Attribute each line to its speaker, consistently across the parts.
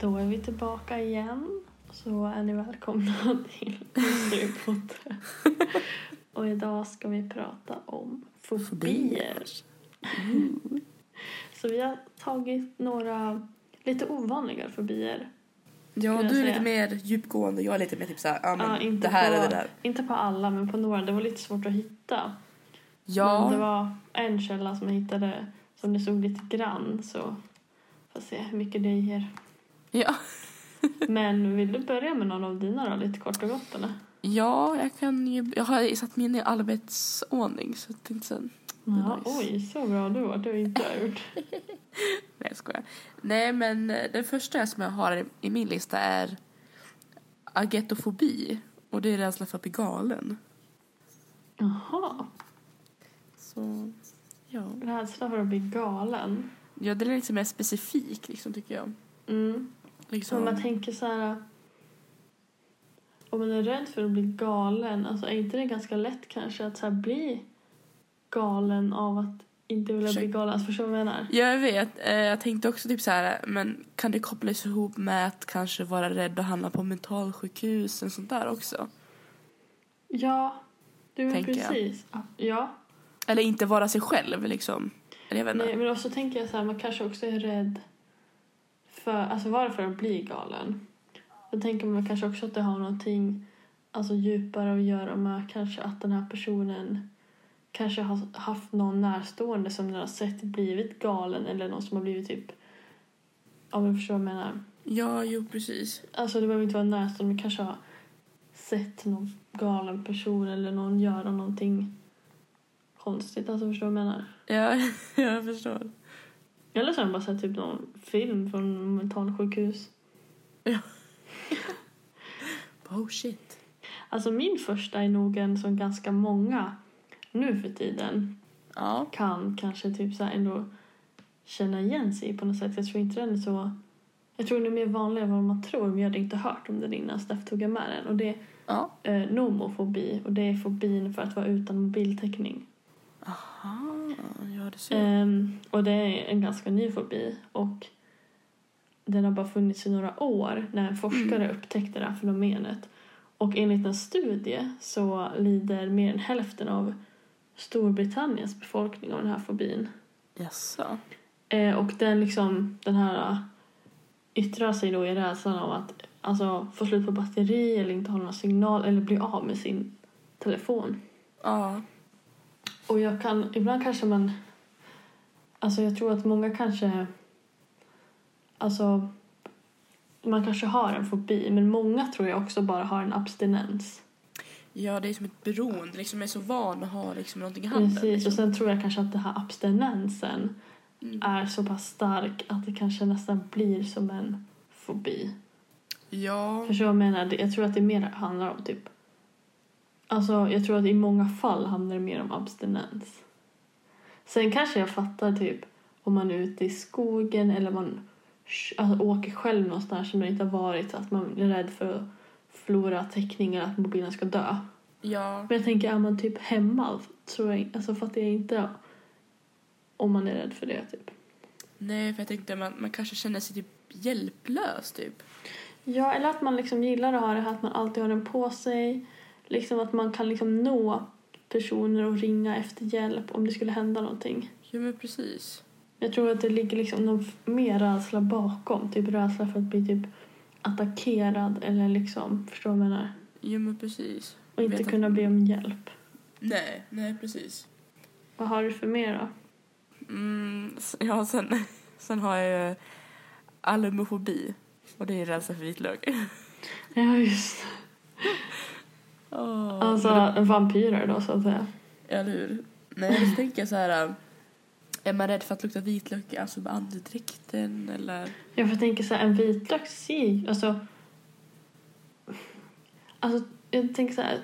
Speaker 1: Då är vi tillbaka igen. Så är ni välkomna till Osterpodden. Och idag ska vi prata om fobier. Mm. Så vi har tagit några lite ovanliga fobier.
Speaker 2: Ja,
Speaker 1: jag
Speaker 2: du är
Speaker 1: säga.
Speaker 2: lite mer djupgående, jag är lite mer typ såhär, ja men
Speaker 1: Ja, inte
Speaker 2: det här
Speaker 1: på,
Speaker 2: är det där.
Speaker 1: Inte på alla, men på några. Det var lite svårt att hitta. Men
Speaker 2: Ja,
Speaker 1: det var en källa som jag hittade som det såg lite grann så får se hur mycket det ger.
Speaker 2: ja.
Speaker 1: Men vill du börja med någon av dina då, lite kort och gott eller?
Speaker 2: ja jag kan ju, jag har satt mig in i arbetsordning så att det inte sen.
Speaker 1: Ja,
Speaker 2: nice.
Speaker 1: oj, så bra du var. Det har inte jag gjort.
Speaker 2: Nej jag skojar. Nej men eh, den första som jag har i- i min lista är agetofobi. Och det är rädsla för att bli galen.
Speaker 1: Jaha,
Speaker 2: Så, ja.
Speaker 1: rädsla för att bli galen.
Speaker 2: Ja, den är lite mer specifik liksom tycker jag.
Speaker 1: Mm. Så om
Speaker 2: Liksom.
Speaker 1: man tänker så här... Om man är rädd för att bli galen, alltså är inte det ganska lätt kanske att så här bli galen av att inte vilja bli
Speaker 2: Försök-
Speaker 1: galen? Alltså, förstår du vad jag menar?
Speaker 2: Ja, jag vet. Eh, Jag tänkte också typ så här, men kan det kopplas ihop med att kanske vara rädd och hamna på mentalsjukhus och sånt där också?
Speaker 1: Ja, du men
Speaker 2: Tänker jag.
Speaker 1: precis. Ja.
Speaker 2: Eller inte vara sig själv liksom. Eller jag vet
Speaker 1: Nej,
Speaker 2: inte.
Speaker 1: men också tänker jag så här, man kanske också är rädd för, alltså varför att bli galen. Då tänker man kanske också att det har någonting alltså, djupare att göra med kanske att den här personen kanske har haft någon närstående som den har sett blivit galen eller någon som har blivit typ, ja men förstår vad jag menar.
Speaker 2: Ja, jo precis.
Speaker 1: Alltså det behöver inte vara närstående, men kanske ha sett någon galen person eller någon göra någonting konstigt, alltså förstår du vad jag menar?
Speaker 2: Ja, jag förstår.
Speaker 1: Eller så har de bara sett typ någon film från mentalsjukhus.
Speaker 2: Oh shit.
Speaker 1: Alltså min första är nog en som ganska många nu för tiden
Speaker 2: Ja.
Speaker 1: kan kanske typ så här ändå känna igen sig i på något sätt. Jag tror inte den är så... Jag tror den är mer vanlig än vad man tror men jag hade inte hört om den innan så därför tog jag med den. Och det
Speaker 2: Ja.
Speaker 1: är eh, nomofobi och det är fobin för att vara utan mobiltäckning.
Speaker 2: Aha. Ja, det ser jag.
Speaker 1: Ehm, och det är en ganska ny fobi och den har bara funnits i några år när en forskare upptäckte det här fenomenet. Och enligt en studie så lider mer än hälften av Storbritanniens befolkning av den här fobin.
Speaker 2: Jaså?
Speaker 1: Eh, och den, liksom, den här eh, yttrar sig då i rädslan av att alltså, få slut på batteri eller inte ha någon signal eller bli av med sin telefon.
Speaker 2: Ja.
Speaker 1: Och jag kan, ibland kanske man... Alltså jag tror att många kanske... Alltså... Man kanske har en fobi, men många tror jag också bara har en abstinens.
Speaker 2: Ja, det är som ett beroende. Liksom jag är så van att ha liksom någonting i handen.
Speaker 1: Precis, och
Speaker 2: Liksom.
Speaker 1: sen tror jag kanske att den här abstinensen
Speaker 2: Mm.
Speaker 1: är så pass stark att det kanske nästan blir som en fobi.
Speaker 2: Ja.
Speaker 1: Förstår du vad jag menar? Det- Jag tror att det mer handlar om typ... Alltså jag tror att i många fall handlar det mer om abstinens. Sen kanske jag fattar typ om man är ute i skogen eller man sh- alltså, åker själv någonstans som man inte har varit att man är rädd för att förlora täckning eller att mobilen ska dö.
Speaker 2: Ja.
Speaker 1: Men jag tänker är man typ hemma tror jag, alltså fattar jag inte om man är rädd för det typ.
Speaker 2: Nej, för jag tänkte man, man kanske känner sig typ hjälplös typ.
Speaker 1: Ja, eller att man liksom gillar att ha det här att man alltid har den på sig. Liksom att man kan liksom nå personer och ringa efter hjälp om det skulle hända någonting.
Speaker 2: Ja, men precis.
Speaker 1: Jag tror att det ligger liksom någon f- mer rädsla bakom. Typ rädsla för att bli typ attackerad eller liksom, förstår du vad jag menar?
Speaker 2: Jo men precis.
Speaker 1: Och inte
Speaker 2: Vet att-
Speaker 1: kunna be om hjälp.
Speaker 2: Nej, nej precis.
Speaker 1: Vad har du för mer då?
Speaker 2: Mm, s- ja, sen, sen har jag ju alumofobi. Och det är rädsla för vitlök.
Speaker 1: Ja, just
Speaker 2: Oh,
Speaker 1: Alltså en vampyrer då så att säga.
Speaker 2: Eller hur? Nej, jag tänker jag så här. äh, Är man rädd för att lukta vitlök i alltså med andedräkten eller?
Speaker 1: Jag får tänka så här, en vitlök ser ju- alltså, alltså jag tänker så här,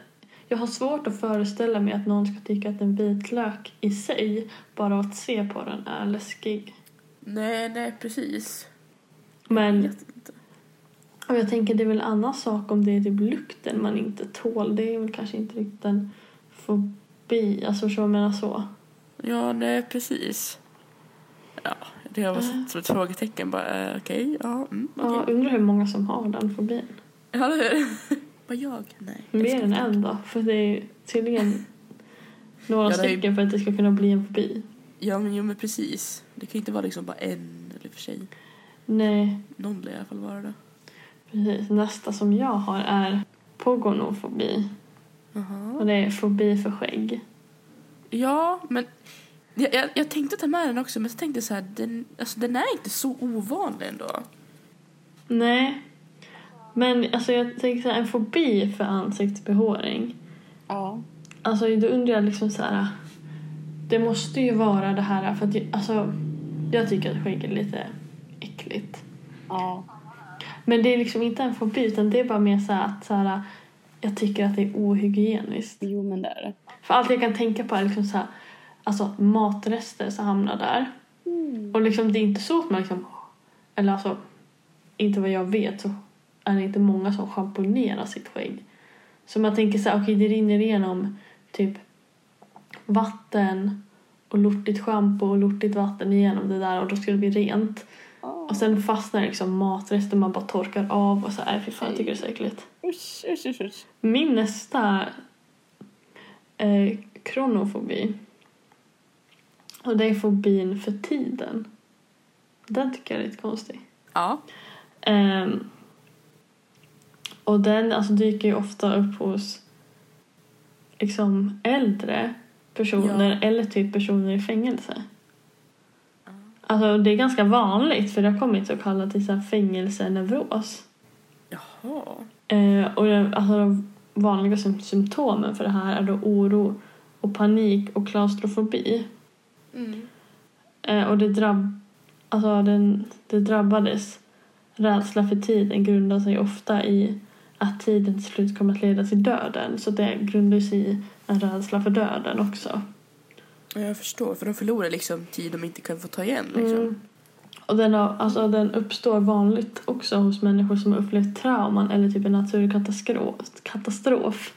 Speaker 1: jag har svårt att föreställa mig att någon ska tycka att en vitlök i sig, bara att se på den, är läskig.
Speaker 2: Nej, nej precis. Jag
Speaker 1: Men
Speaker 2: vet inte.
Speaker 1: och jag tänker det är väl en annan sak om det är typ lukten man inte tål. Det är väl kanske inte riktigt en fobi, alltså så jag menar så.
Speaker 2: Ja, nej precis. Ja, jag Det har varit som ett frågetecken. Bara, eh, Okej, ja. Mm,
Speaker 1: Ja,
Speaker 2: okej.
Speaker 1: undrar hur många som har den fobin.
Speaker 2: Ja, eller hur? Bara jag? Nej.
Speaker 1: Mer än en då? För det är ju tydligen några
Speaker 2: Ja, det är ju-
Speaker 1: stycken för att det ska kunna bli en fobi.
Speaker 2: Ja, men, jo, men precis. Det kan ju inte vara liksom bara en eller för sig.
Speaker 1: Nej,
Speaker 2: Någon lär i alla fall vara det.
Speaker 1: precis. Nästa som jag har är pogonofobi. Och
Speaker 2: Jaha.
Speaker 1: det är fobi för skägg.
Speaker 2: Ja, men jag, jag, jag tänkte ta med den också, men så tänkte jag så här, den, alltså, den är inte så ovanlig ändå.
Speaker 1: Nej. Men alltså jag tänker så här, en fobi för ansiktsbehåring.
Speaker 2: Ja.
Speaker 1: Alltså då undrar jag liksom så här. Det måste ju vara det här för att jag, alltså, jag tycker att skägg är lite äckligt.
Speaker 2: ja.
Speaker 1: Men det är liksom inte en fobi utan det är bara mer så här att så här, jag tycker att det är ohygieniskt.
Speaker 2: Jo, men det är det.
Speaker 1: För allt jag kan tänka på är liksom så här, alltså matrester som hamnar där.
Speaker 2: Mm.
Speaker 1: Och liksom det är inte så att man liksom, eller alltså inte vad jag vet så är det inte många som schamponerar sitt skägg. Så man tänker så här, okej det rinner igenom typ vatten och lortigt schampo och lortigt vatten igenom det där och då ska det bli rent. Och sen fastnar det liksom matrester man bara torkar av och så här, fy fan jag tycker det är så äckligt.
Speaker 2: Usch, usch, usch, usch.
Speaker 1: Min nästa är kronofobi. Och det är fobin för tiden. Den tycker jag är lite konstig.
Speaker 2: Ja.
Speaker 1: Ehm, och den alltså, dyker ju ofta upp hos liksom äldre personer eller typ personer i fängelse. Alltså det är ganska vanligt för det har kommit så kallat till så här fängelseneuros.
Speaker 2: Jaha.
Speaker 1: Eh, och den, alltså de vanliga sym- symptomen för det här är då oro och panik och klaustrofobi.
Speaker 2: Mm.
Speaker 1: Eh, och det, drabb, alltså den, det drabbades rädsla för tiden grundar sig ofta i att tiden till slut kommer att leda till döden. Så det grundar sig i en rädsla för döden också.
Speaker 2: Ja, Jag förstår, för de förlorar liksom tid de inte kan få ta igen. Liksom.
Speaker 1: Mm. Och den, har, alltså, den uppstår vanligt också hos människor som har upplevt trauman eller typ en naturkatastrof. Katastrof.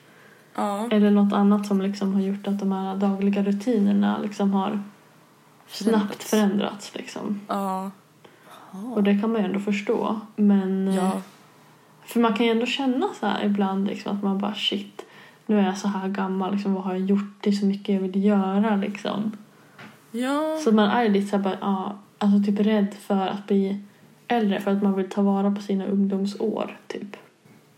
Speaker 2: Ja.
Speaker 1: Eller något annat som liksom har gjort att de här dagliga rutinerna liksom har snabbt förändrats. Liksom.
Speaker 2: Ja.
Speaker 1: Och det kan man ju ändå förstå. Men, eh,
Speaker 2: Ja.
Speaker 1: För man kan ju ändå känna så här ibland liksom, att man bara shit, nu är jag så här gammal, liksom, vad har jag gjort? Det är så mycket jag vill göra. Liksom.
Speaker 2: Ja.
Speaker 1: Så man är ju lite så här, bara, ja, alltså typ rädd för att bli äldre för att man vill ta vara på sina ungdomsår. Typ.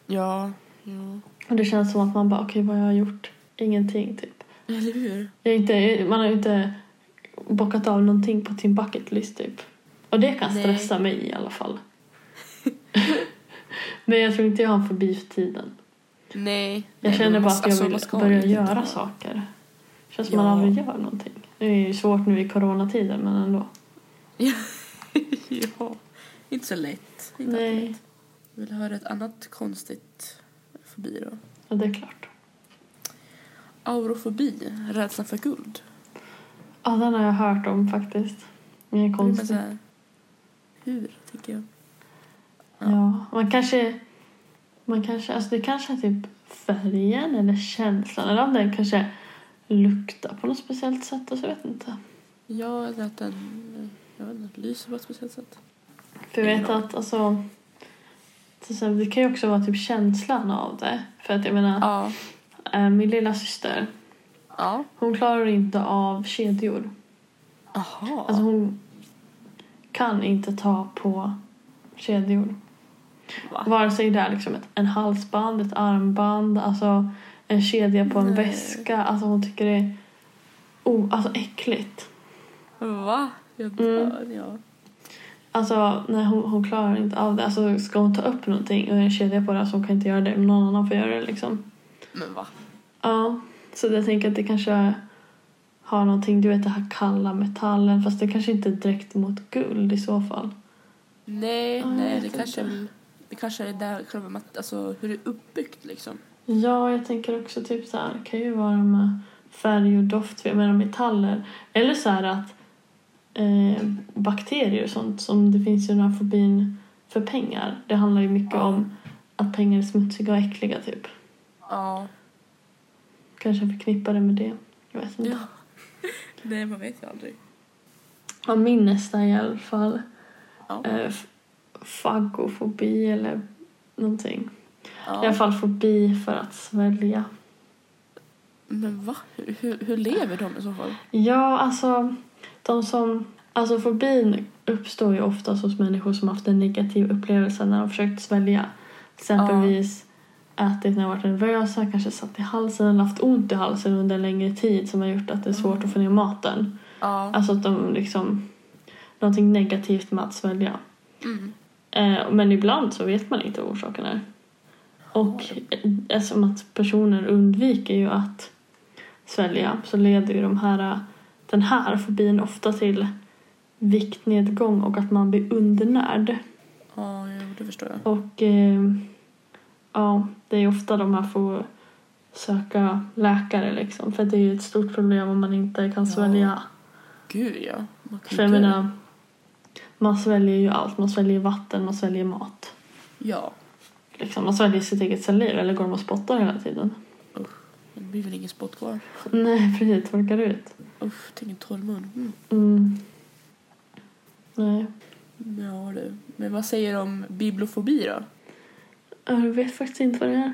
Speaker 2: Ja. ja.
Speaker 1: Och det känns som att man bara, okej vad har jag gjort? Ingenting typ.
Speaker 2: Eller hur?
Speaker 1: Det är inte, man har ju inte bockat av någonting på sin bucket list typ. Och det kan
Speaker 2: Nej.
Speaker 1: stressa mig i alla fall. Men jag tror inte jag har en fobi för tiden.
Speaker 2: Nej.
Speaker 1: Jag
Speaker 2: Nej,
Speaker 1: känner
Speaker 2: men
Speaker 1: bara
Speaker 2: man-
Speaker 1: att jag
Speaker 2: alltså,
Speaker 1: vill
Speaker 2: man ska
Speaker 1: börja
Speaker 2: ju inte
Speaker 1: göra
Speaker 2: vara-
Speaker 1: saker. känns som man
Speaker 2: Ja.
Speaker 1: aldrig gör någonting. Det är ju svårt nu i coronatider men ändå.
Speaker 2: ja. Inte så lätt. Inte
Speaker 1: Nej.
Speaker 2: alltid lätt. Vill du höra ett annat konstigt fobi då?
Speaker 1: Ja, det är klart.
Speaker 2: Aurofobi, rädslan för guld.
Speaker 1: Ja, den har jag hört om faktiskt. Det är
Speaker 2: Då blir man
Speaker 1: konstigt.
Speaker 2: så här, Hur, tänker jag. ja.
Speaker 1: Ja, man kanske... Man kanske alltså det kanske är typ färgen eller känslan eller om den kanske luktar på något speciellt sätt. Alltså, jag vet inte.
Speaker 2: Ja, eller att den jag vet inte, lyser på ett speciellt sätt.
Speaker 1: För jag vet
Speaker 2: Ingen aning.
Speaker 1: att alltså, till exempel, det kan ju också vara typ känslan av det. För att jag menar,
Speaker 2: Ja.
Speaker 1: eh, min lilla syster,
Speaker 2: Ja.
Speaker 1: hon klarar inte av kedjor.
Speaker 2: Jaha.
Speaker 1: Alltså hon kan inte ta på kedjor.
Speaker 2: Va?
Speaker 1: Vare sig det är liksom ett, en halsband, ett armband, alltså en kedja på en
Speaker 2: Nej.
Speaker 1: väska. Alltså hon tycker det är oh, alltså äckligt.
Speaker 2: Va? Jag
Speaker 1: Mm.
Speaker 2: dör, ja.
Speaker 1: Alltså nej, hon, hon klarar inte av det. Alltså ska hon ta upp någonting och är en kedja på det så hon kan inte göra det. Men någon annan får göra det liksom.
Speaker 2: Men va?
Speaker 1: Ja, så jag tänker att det kanske har någonting, du vet den här kalla metallen fast det kanske inte är direkt mot guld i så fall.
Speaker 2: Nej,
Speaker 1: Ja, Ah, jag
Speaker 2: nej,
Speaker 1: vet
Speaker 2: det kanske, är
Speaker 1: inte.
Speaker 2: väl- det kanske är där själva mat- alltså hur det är uppbyggt liksom.
Speaker 1: Ja, jag tänker också typ så här, det kan ju vara med färg och doft, för jag menar metaller. Eller så här att eh, bakterier och sånt som det finns ju den här fobin för pengar. Det handlar ju mycket
Speaker 2: Ja.
Speaker 1: om att pengar är smutsiga och äckliga typ.
Speaker 2: Ja.
Speaker 1: Kanske förknippar det med det. Jag vet inte.
Speaker 2: ja. nej, man vet ju aldrig.
Speaker 1: Ja, min nästa i alla fall.
Speaker 2: Ja.
Speaker 1: Eh, f- fagofobi eller någonting. I alla
Speaker 2: Ja.
Speaker 1: fall fobi för att svälja.
Speaker 2: Men va? Hur, hur, hur lever de i så fall?
Speaker 1: Ja, alltså de som... Alltså fobin uppstår ju oftast hos människor som haft en negativ upplevelse när de försökt svälja. Exempelvis ätit när de varit nervösa, kanske satt i halsen eller haft ont i halsen under en längre tid som har gjort att det är svårt att få ner maten.
Speaker 2: Ja.
Speaker 1: Alltså att de liksom... Någonting negativt med att svälja.
Speaker 2: Mm.
Speaker 1: Eh, men ibland så vet man inte vad orsaken är. Och eh, eftersom att personer undviker ju att svälja så leder ju de här, eh, den här fobin ofta till viktnedgång och att man blir undernärd.
Speaker 2: Ja, jo, det förstår jag.
Speaker 1: Och eh, ja, det är ofta de här får söka läkare liksom för det är ju ett stort problem om man inte kan
Speaker 2: Ja.
Speaker 1: svälja
Speaker 2: Gud, ja. Man kan
Speaker 1: För jag
Speaker 2: dö.
Speaker 1: menar, man sväljer ju allt. Man sväljer vatten, man sväljer mat.
Speaker 2: Ja.
Speaker 1: Liksom, man sväljer sitt eget saliv eller går de och spottar hela tiden?
Speaker 2: Det blir väl ingen spott kvar.
Speaker 1: Nej, precis. Torkar ut.
Speaker 2: Usch, tänk en torr mun. Mm.
Speaker 1: Mm. Nej.
Speaker 2: Ja du. Men vad säger du om bibliofobi då?
Speaker 1: Ja, Jag vet faktiskt inte vad det är.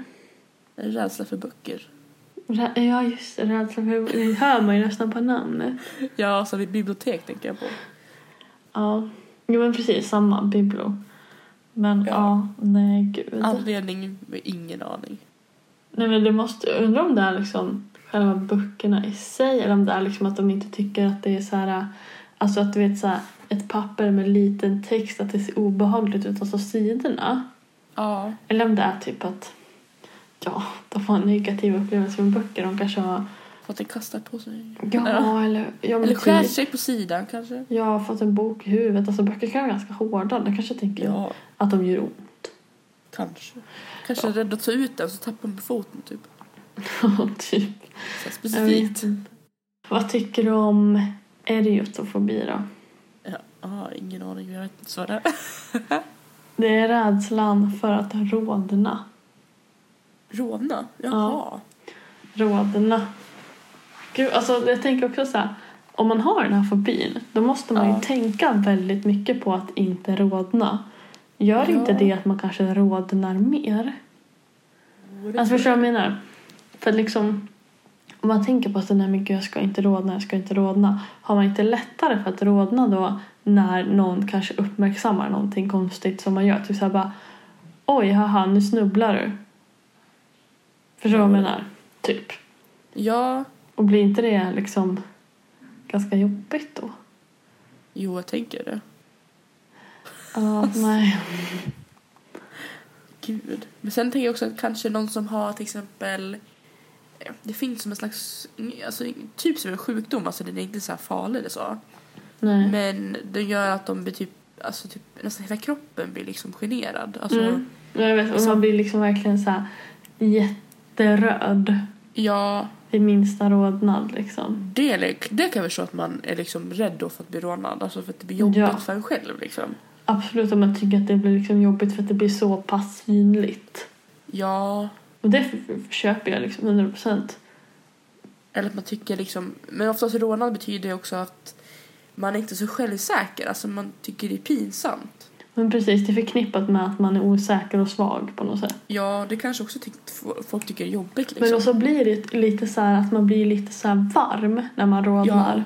Speaker 2: En rädsla för böcker.
Speaker 1: Rä- ja, just det. Rädsla för... Det hör man ju nästan på namnet.
Speaker 2: Ja, alltså vid bibliotek tänker jag på.
Speaker 1: Ja. Jo, men precis. Samma. Biblo. Men
Speaker 2: Ja.
Speaker 1: ja, nej gud.
Speaker 2: Anledning? Ingen aning.
Speaker 1: Nej, men det måste... jag Undrar om det är liksom själva böckerna i sig eller om det är liksom att de inte tycker att det är så här... Alltså att du vet så här, ett papper med liten text, att det ser obehagligt ut, alltså sidorna.
Speaker 2: Ja.
Speaker 1: Eller om det är typ att ja, de har en negativ upplevelse från böcker. De kanske har...
Speaker 2: För att den kastar på sig.
Speaker 1: Ja, eller... Ja, men
Speaker 2: Eller
Speaker 1: typ-
Speaker 2: skär sig på sidan kanske.
Speaker 1: Jag har fått en bok i huvudet. Alltså böcker kan vara ganska hårda. De kanske tänker
Speaker 2: Ja,
Speaker 1: att de gör ont.
Speaker 2: kanske. Kanske är rädd att ta ut den så tappar man foten typ.
Speaker 1: typ.
Speaker 2: Så här
Speaker 1: Jag vet
Speaker 2: specifikt.
Speaker 1: inte. Vad tycker du om eriotofobi då?
Speaker 2: Ja, ah, ingen aning. Jag vet inte vad det är.
Speaker 1: Det är rädslan för att rodna.
Speaker 2: Råna? Jaha.
Speaker 1: Rodna. Gud, alltså jag tänker också så här. Om man har den här fobin, då måste man
Speaker 2: Ja.
Speaker 1: ju tänka väldigt mycket på att inte rodna. Gör
Speaker 2: Ja.
Speaker 1: inte det att man kanske rodnar mer?
Speaker 2: Ja.
Speaker 1: Alltså förstår du vad jag menar? För att liksom, om man tänker på att den här, men gud, jag ska inte rodna, jag ska inte rodna. Har man inte lättare för att rodna då när någon kanske uppmärksammar någonting konstigt som man gör? Typ såhär bara, oj, haha, nu snubblar du. Förstår du vad jag menar? Typ.
Speaker 2: Ja.
Speaker 1: Och blir inte det liksom ganska jobbigt då?
Speaker 2: Jo, jag tänker det.
Speaker 1: Ja,
Speaker 2: Alltså,
Speaker 1: nej.
Speaker 2: Gud. Men sen tänker jag också att kanske någon som har till exempel eh, det finns som en slags alltså, typ som en sjukdom, alltså den är inte så här farlig eller så.
Speaker 1: Nej.
Speaker 2: Men den gör att de blir typ, alltså typ nästan hela kroppen blir liksom generad. Alltså,
Speaker 1: Mm. Men jag vet, och
Speaker 2: Så-
Speaker 1: man blir liksom verkligen så här jätteröd
Speaker 2: Ja,
Speaker 1: vid minsta rodnad liksom.
Speaker 2: det, det kan jag förstå att man är liksom rädd då för att bli rånad. Alltså för att det blir jobbigt
Speaker 1: Ja.
Speaker 2: för en själv liksom.
Speaker 1: Absolut om man tycker att det blir liksom jobbigt för att det blir så pass synligt.
Speaker 2: Ja,
Speaker 1: Och det f- f- köper jag liksom 100 procent.
Speaker 2: eller att man tycker liksom... Men oftast rånad betyder ju också att man är inte så självsäker. Alltså man tycker det är pinsamt.
Speaker 1: Men precis, det är förknippat med att man är osäker och svag på något sätt.
Speaker 2: Ja, det kanske också ty folk tycker är jobbigt liksom.
Speaker 1: Men och så blir det lite så här att man blir lite så här varm när man rodnar.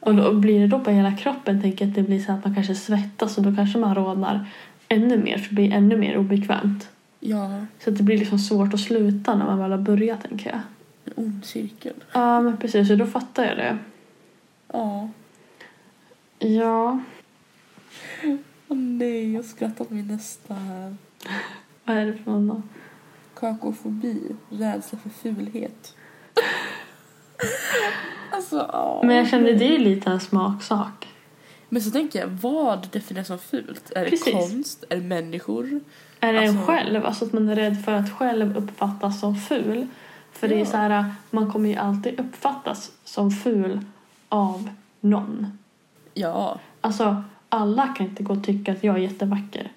Speaker 1: Och då blir det då på hela kroppen tänker jag att det blir så här att man kanske svettas och då kanske man rodnar ännu mer för det blir ännu mer obekvämt.
Speaker 2: Ja,
Speaker 1: Så att det blir liksom svårt att sluta när man väl har börjat tänker jag.
Speaker 2: en ond cirkel.
Speaker 1: Ja men precis, och då fattar jag det.
Speaker 2: Ja.
Speaker 1: Ja,
Speaker 2: Åh nej, jag skrattar åt min nästa här.
Speaker 1: vad är det för någon då?
Speaker 2: Kakofobi, rädsla för fulhet. alltså, ja.
Speaker 1: Men jag kände det är lite en smaksak.
Speaker 2: Men så tänker jag, vad definieras som fult? Är det
Speaker 1: Precis.
Speaker 2: konst? Är det människor?
Speaker 1: Är det en
Speaker 2: Alltså-
Speaker 1: själv? Alltså att man är rädd för att själv uppfattas som ful. För det är
Speaker 2: Ja.
Speaker 1: så här, man kommer ju alltid uppfattas som ful av någon.
Speaker 2: Ja,
Speaker 1: Alltså alla kan inte gå och tycka att jag är jättevacker.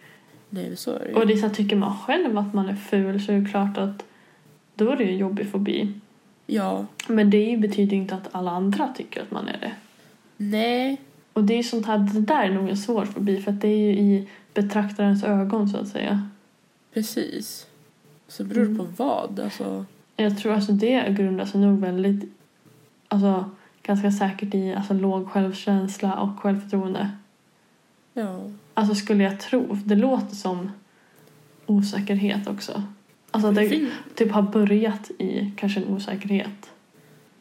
Speaker 2: nej men så är det ju.
Speaker 1: Och det är så här, tycker man själv att man är ful så är det klart att då är det ju en jobbig fobi.
Speaker 2: Ja,
Speaker 1: Men det betyder ju inte att alla andra tycker att man är det.
Speaker 2: nej.
Speaker 1: Och det är ju sånt här, det där är nog en svår fobi för att det är ju i betraktarens ögon så att säga.
Speaker 2: Precis. Så det beror det på
Speaker 1: Mm.
Speaker 2: vad. Alltså,
Speaker 1: Jag tror alltså det grundar sig nog väldigt, alltså ganska säkert i alltså, låg självkänsla och självförtroende.
Speaker 2: ja.
Speaker 1: Alltså skulle jag tro, för det låter som osäkerhet också. Alltså att
Speaker 2: Det
Speaker 1: det
Speaker 2: fin-
Speaker 1: typ har börjat i kanske en osäkerhet.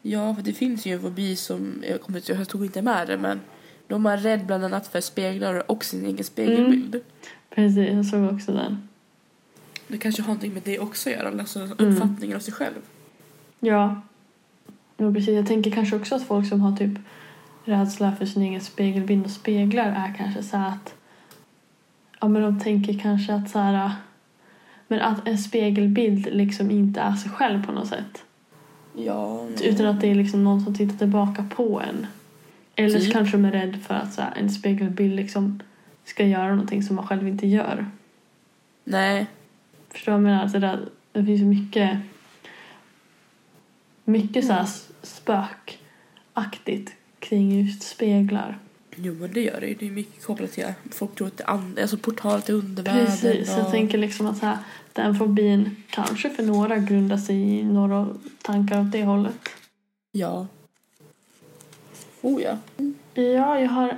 Speaker 2: ja, för det finns ju en fobi som, jag, kommer inte, jag tog inte med det, men då är man rädd bland annat för speglar och sin egen spegelbild.
Speaker 1: Mm. Precis, jag såg också den.
Speaker 2: Det kanske har någonting med det också att göra,
Speaker 1: Mm.
Speaker 2: alltså uppfattningen av sig själv.
Speaker 1: Ja. ja, precis. Jag tänker kanske också att folk som har typ rädsla för sin egen spegelbild och speglar är kanske så här att ja, men de tänker kanske att så här men att en spegelbild liksom inte är sig själv på något sätt.
Speaker 2: Ja, nej.
Speaker 1: Utan att det är liksom någon som tittar tillbaka på en. Eller så
Speaker 2: Typ.
Speaker 1: kanske de är rädda för att så här, en spegelbild liksom ska göra någonting som man själv inte gör.
Speaker 2: Nej,
Speaker 1: Förstår du vad jag menar? Alltså, det, där, det finns ju mycket mycket så här s- spökaktigt kring just speglar.
Speaker 2: jo men det gör det ju. Det är mycket kopplat till att folk tror att det är and- alltså portal till undervärlden.
Speaker 1: Precis, jag
Speaker 2: och-
Speaker 1: tänker liksom att så här, den fobin kanske för några grundar sig i några tankar åt det hållet.
Speaker 2: Ja. Oh ja.
Speaker 1: Ja, jag har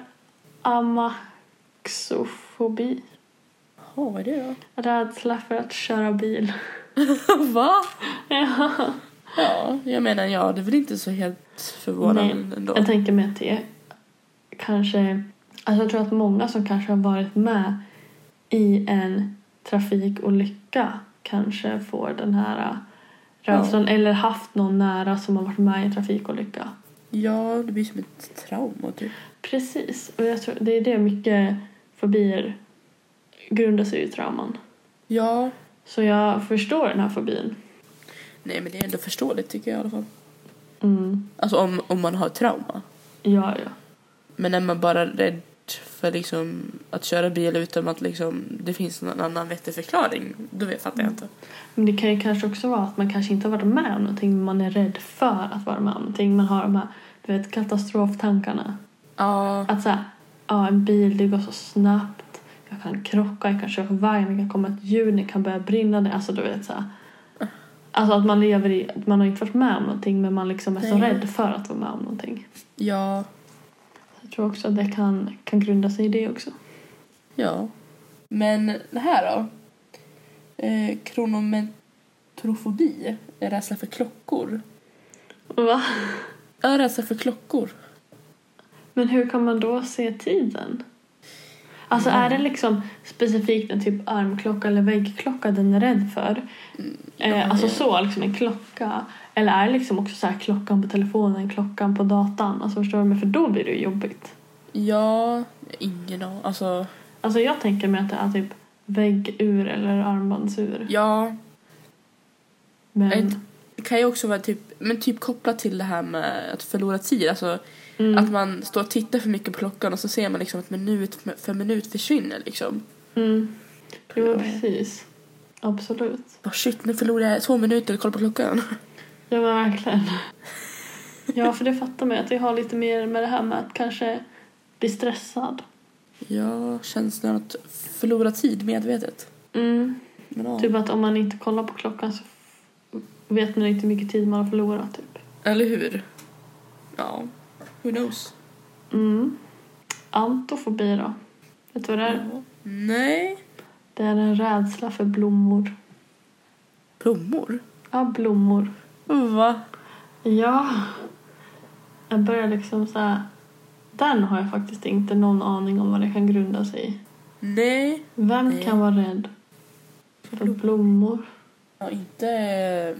Speaker 1: amaxofobi.
Speaker 2: Ja, vad är det
Speaker 1: Rädsla för att köra bil.
Speaker 2: då? Va?
Speaker 1: Ja.
Speaker 2: Ja, jag menar ja, det är väl inte så helt förvånande ändå.
Speaker 1: Jag tänker mig att det är kanske... Alltså jag tror att många som kanske har varit med i en trafikolycka kanske får den här äh, rädslan. Eller haft någon nära som har varit med i en trafikolycka.
Speaker 2: Ja, det blir som ett trauma typ.
Speaker 1: Precis. Och jag tror, det är det mycket fobier grundar sig i trauman.
Speaker 2: Ja.
Speaker 1: Så jag förstår den här fobin.
Speaker 2: Nej men det är ändå förståeligt tycker jag i alla fall.
Speaker 1: Mm.
Speaker 2: Alltså om, om man har trauma.
Speaker 1: Ja, ja.
Speaker 2: Men är man bara rädd för liksom att köra bil utan att liksom det finns någon annan vettig förklaring. Då vet- fattar jag inte.
Speaker 1: Men det kan ju kanske också vara att man kanske inte har varit med om någonting men man är rädd för att vara med om någonting. Man har de här du vet, katastroftankarna.
Speaker 2: Ja.
Speaker 1: Att så här, ja, en bil, det går så snabbt. Jag kan krocka, jag kan köra iväg, det kan komma ett djur, det kan börja brinna. Det- Alltså du vet så här. Alltså att man lever i, att man har inte varit med om någonting men man liksom är så
Speaker 2: Nej.
Speaker 1: rädd för att vara med om någonting.
Speaker 2: Ja.
Speaker 1: Jag tror också att det kan, kan grunda sig i det också.
Speaker 2: Ja. Men det här då? Eh, kronometrofobi. Rädsla för klockor.
Speaker 1: Va?
Speaker 2: Ja, rädsla för klockor.
Speaker 1: Men hur kan man då se tiden? Alltså är
Speaker 2: Mm.
Speaker 1: det liksom specifikt en typ armklocka eller väggklocka den är rädd för?
Speaker 2: Mm.
Speaker 1: Eh, alltså
Speaker 2: det-
Speaker 1: så, liksom en klocka. Eller är det liksom också så här klockan på telefonen, klockan på datan? Alltså förstår du? Men för då blir det ju jobbigt.
Speaker 2: Ja, ingen aning. Alltså,
Speaker 1: Alltså jag tänker mig att det är typ väggur eller armbandsur.
Speaker 2: ja.
Speaker 1: Men,
Speaker 2: Ett- Det kan ju också vara typ, men typ kopplat till det här med att förlora tid. Alltså
Speaker 1: mm,
Speaker 2: att man står och tittar för mycket på klockan och så ser man liksom att minut för minut försvinner liksom.
Speaker 1: mm. Jo, men precis. Absolut.
Speaker 2: Bara, shit, nu förlorar jag två minuter och kollar på klockan.
Speaker 1: Ja men verkligen. Ja för det fattar man ju att det har lite mer med det här med att kanske bli stressad.
Speaker 2: Ja, känslan att förlora tid medvetet.
Speaker 1: Mm.
Speaker 2: Men, ja.
Speaker 1: Typ att om man inte kollar på klockan så f- vet man inte hur mycket tid man har förlorat typ.
Speaker 2: Eller hur? Ja, who knows?
Speaker 1: Mm. Antofobi då? Vet du vad det är?
Speaker 2: Ja. Nej.
Speaker 1: Det är en rädsla för blommor.
Speaker 2: Blommor?
Speaker 1: Ja, blommor.
Speaker 2: Va?
Speaker 1: Ja. Jag börjar liksom så här. Den har jag faktiskt inte någon aning om vad det kan grunda sig i.
Speaker 2: Nej.
Speaker 1: Vem
Speaker 2: Nej.
Speaker 1: kan vara rädd för blommor?
Speaker 2: Ja, inte eh,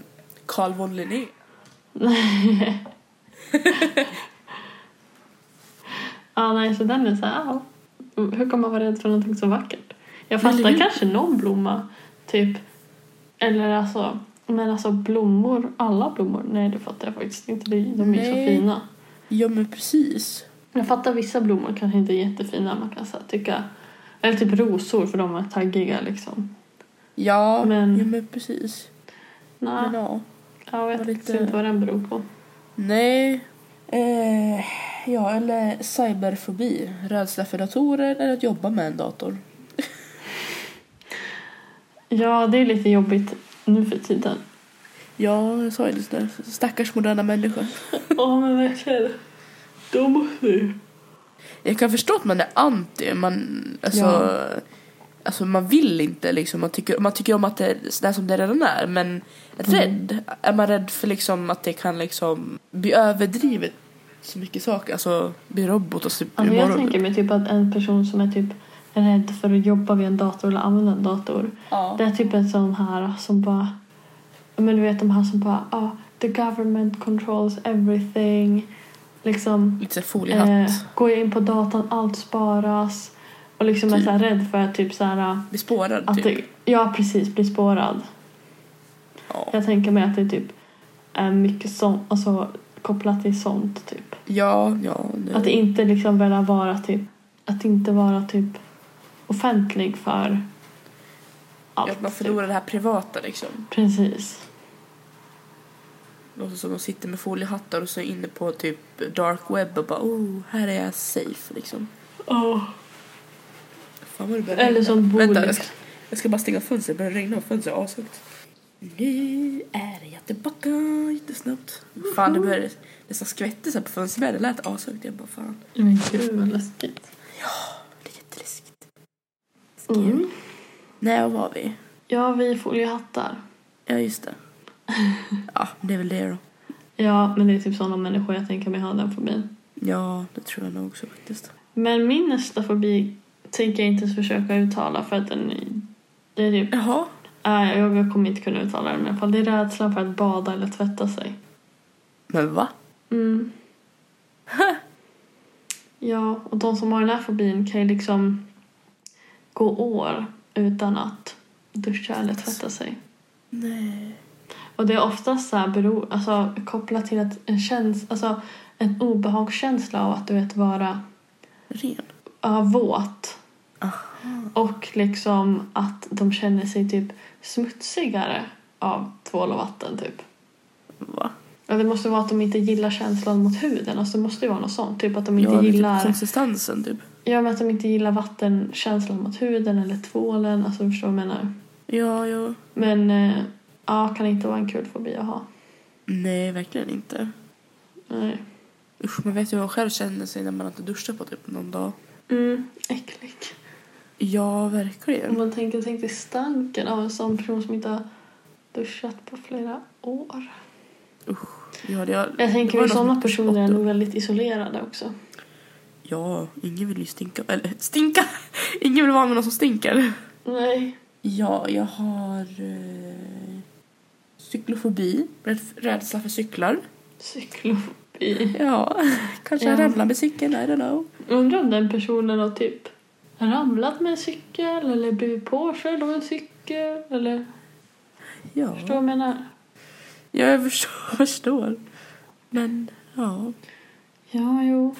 Speaker 2: Carl von Linné.
Speaker 1: Ja, nej, så den är så här, ja. Mm, hur kan man vara rädd för någonting så vackert? Jag fattar
Speaker 2: Eller hur?
Speaker 1: kanske någon blomma, typ. Eller alltså, men alltså blommor, alla blommor, nej det fattar jag faktiskt inte. Det- De är ju så
Speaker 2: Nej.
Speaker 1: fina.
Speaker 2: Ja, men precis.
Speaker 1: Jag fattar vissa blommor kanske inte är jättefina, man kan så här, tycka. Eller typ rosor för de är taggiga liksom.
Speaker 2: Ja,
Speaker 1: Men-
Speaker 2: ja men precis.
Speaker 1: Nej,
Speaker 2: Men ja.
Speaker 1: jag vet
Speaker 2: var lite-
Speaker 1: faktiskt inte vad den beror på.
Speaker 2: Nej. Eh, Ja, eller cyberfobi. Rädsla för datorer eller att jobba med en dator.
Speaker 1: Ja, det är lite jobbigt nu för tiden.
Speaker 2: Ja, jag sa ju det. där. Stackars moderna människor.
Speaker 1: Ja, men verkligen. De måste ju.
Speaker 2: Jag kan förstå att man är anti. Man, alltså,
Speaker 1: Ja.
Speaker 2: alltså, man vill inte liksom. Man tycker, man tycker om att det är sådär som det redan är. Men att
Speaker 1: Mm.
Speaker 2: rädd. Är man rädd för liksom att det kan liksom bli överdrivet så mycket saker. Alltså bli robot och super
Speaker 1: Alltså jag
Speaker 2: morgon.
Speaker 1: tänker mig typ att en person som är typ rädd för att jobba vid en dator eller använda en dator.
Speaker 2: Ja.
Speaker 1: Det är typ en sån här som bara... ja, Men du vet de här som bara... ah the government controls everything. Liksom,
Speaker 2: Lite såhär foliehatt.
Speaker 1: eh, går jag in på datan, allt sparas. Och liksom är
Speaker 2: Typ.
Speaker 1: så här rädd för att typ så här...
Speaker 2: bli spårad
Speaker 1: Att
Speaker 2: typ.
Speaker 1: det, ja, precis, bli spårad.
Speaker 2: Ja.
Speaker 1: Jag tänker mig att det typ är mycket sånt, alltså kopplat till sånt typ.
Speaker 2: Ja, ja. Det.
Speaker 1: Att inte liksom vilja vara typ, att inte vara typ offentlig för allt.
Speaker 2: att man
Speaker 1: typ.
Speaker 2: förlorar det här privata liksom.
Speaker 1: Precis.
Speaker 2: Låter som de sitter med foliehattar och så är inne på typ dark web och bara oh, här är jag safe liksom. Fan vad det börjar
Speaker 1: Eller
Speaker 2: regna.
Speaker 1: som bor
Speaker 2: Vänta, jag
Speaker 1: liksom-
Speaker 2: ska, jag ska bara stänga fönstret, det börjar regna och fönstret är ashögt. Nu är jag tillbaka jättesnabbt. Fan det började nästan skvätta så här på fönsterbrädan, det lät ashögt. Jag bara fan,
Speaker 1: Men gud vad läskigt.
Speaker 2: det är jätteläskigt.
Speaker 1: Mm.
Speaker 2: Nej, var var vi?
Speaker 1: Ja, vi foliehattar.
Speaker 2: Ja just det. Ja, det är väl det då.
Speaker 1: Ja, men det är typ sådana människor jag tänker mig ha den fobin.
Speaker 2: Ja, det tror jag nog också faktiskt.
Speaker 1: Men min nästa fobi tänker jag inte ens försöka uttala för att den är- det är typ
Speaker 2: Jaha,
Speaker 1: Nej, jag kommer inte kunna uttala den i alla fall. Det är rädslan för att bada eller tvätta sig.
Speaker 2: men va?
Speaker 1: Mm. ja, och de som har den här fobin kan ju liksom gå år utan att duscha eller tvätta sig.
Speaker 2: Nej.
Speaker 1: Och det är oftast så här bero, alltså, kopplat till att en, käns, alltså, en obehagskänsla av att du vet vara
Speaker 2: Ren.
Speaker 1: ja, våt. Och liksom att de känner sig typ smutsigare av tvål och vatten typ.
Speaker 2: Va?
Speaker 1: Ja, det måste vara att de inte gillar känslan mot huden. Alltså, det måste ju vara något sånt. Typ att de inte
Speaker 2: Ja, det är typ
Speaker 1: gillar...
Speaker 2: konsistensen typ.
Speaker 1: Ja, men att de inte gillar vattenkänslan mot huden eller tvålen. Alltså, du förstår vad jag menar.
Speaker 2: Ja, ja.
Speaker 1: Men eh, ja, kan inte vara en kul fobi att ha.
Speaker 2: Nej, verkligen inte.
Speaker 1: Nej.
Speaker 2: Usch, man vet ju hur man själv känner sig när man inte duschar på typ någon dag.
Speaker 1: Mm, äckligt.
Speaker 2: Ja,
Speaker 1: Om
Speaker 2: verkligen.
Speaker 1: man tänker, tänk dig stanken av en sån person som inte har duschat på flera år.
Speaker 2: Ja, det är...
Speaker 1: Jag
Speaker 2: Det
Speaker 1: tänker
Speaker 2: var
Speaker 1: att
Speaker 2: någon
Speaker 1: sådana
Speaker 2: som-
Speaker 1: personer är nog väldigt isolerade också.
Speaker 2: ja ingen vill ju stinka. Eller stinka! Ingen vill vara med någon som stinker.
Speaker 1: Nej.
Speaker 2: Ja, jag har... Eh, cyklofobi. Rädd, rädsla för cyklar.
Speaker 1: Cyklofobi.
Speaker 2: Ja, kanske jag
Speaker 1: Ja.
Speaker 2: ramlar med cykeln. I don't know.
Speaker 1: Undrar om den personen har typ ramlat med en cykel eller blivit påkörd av en cykel eller
Speaker 2: Ja,
Speaker 1: förstår vad jag menar?
Speaker 2: ja jag förstår, förstår. Men, ja.
Speaker 1: Ja, jo.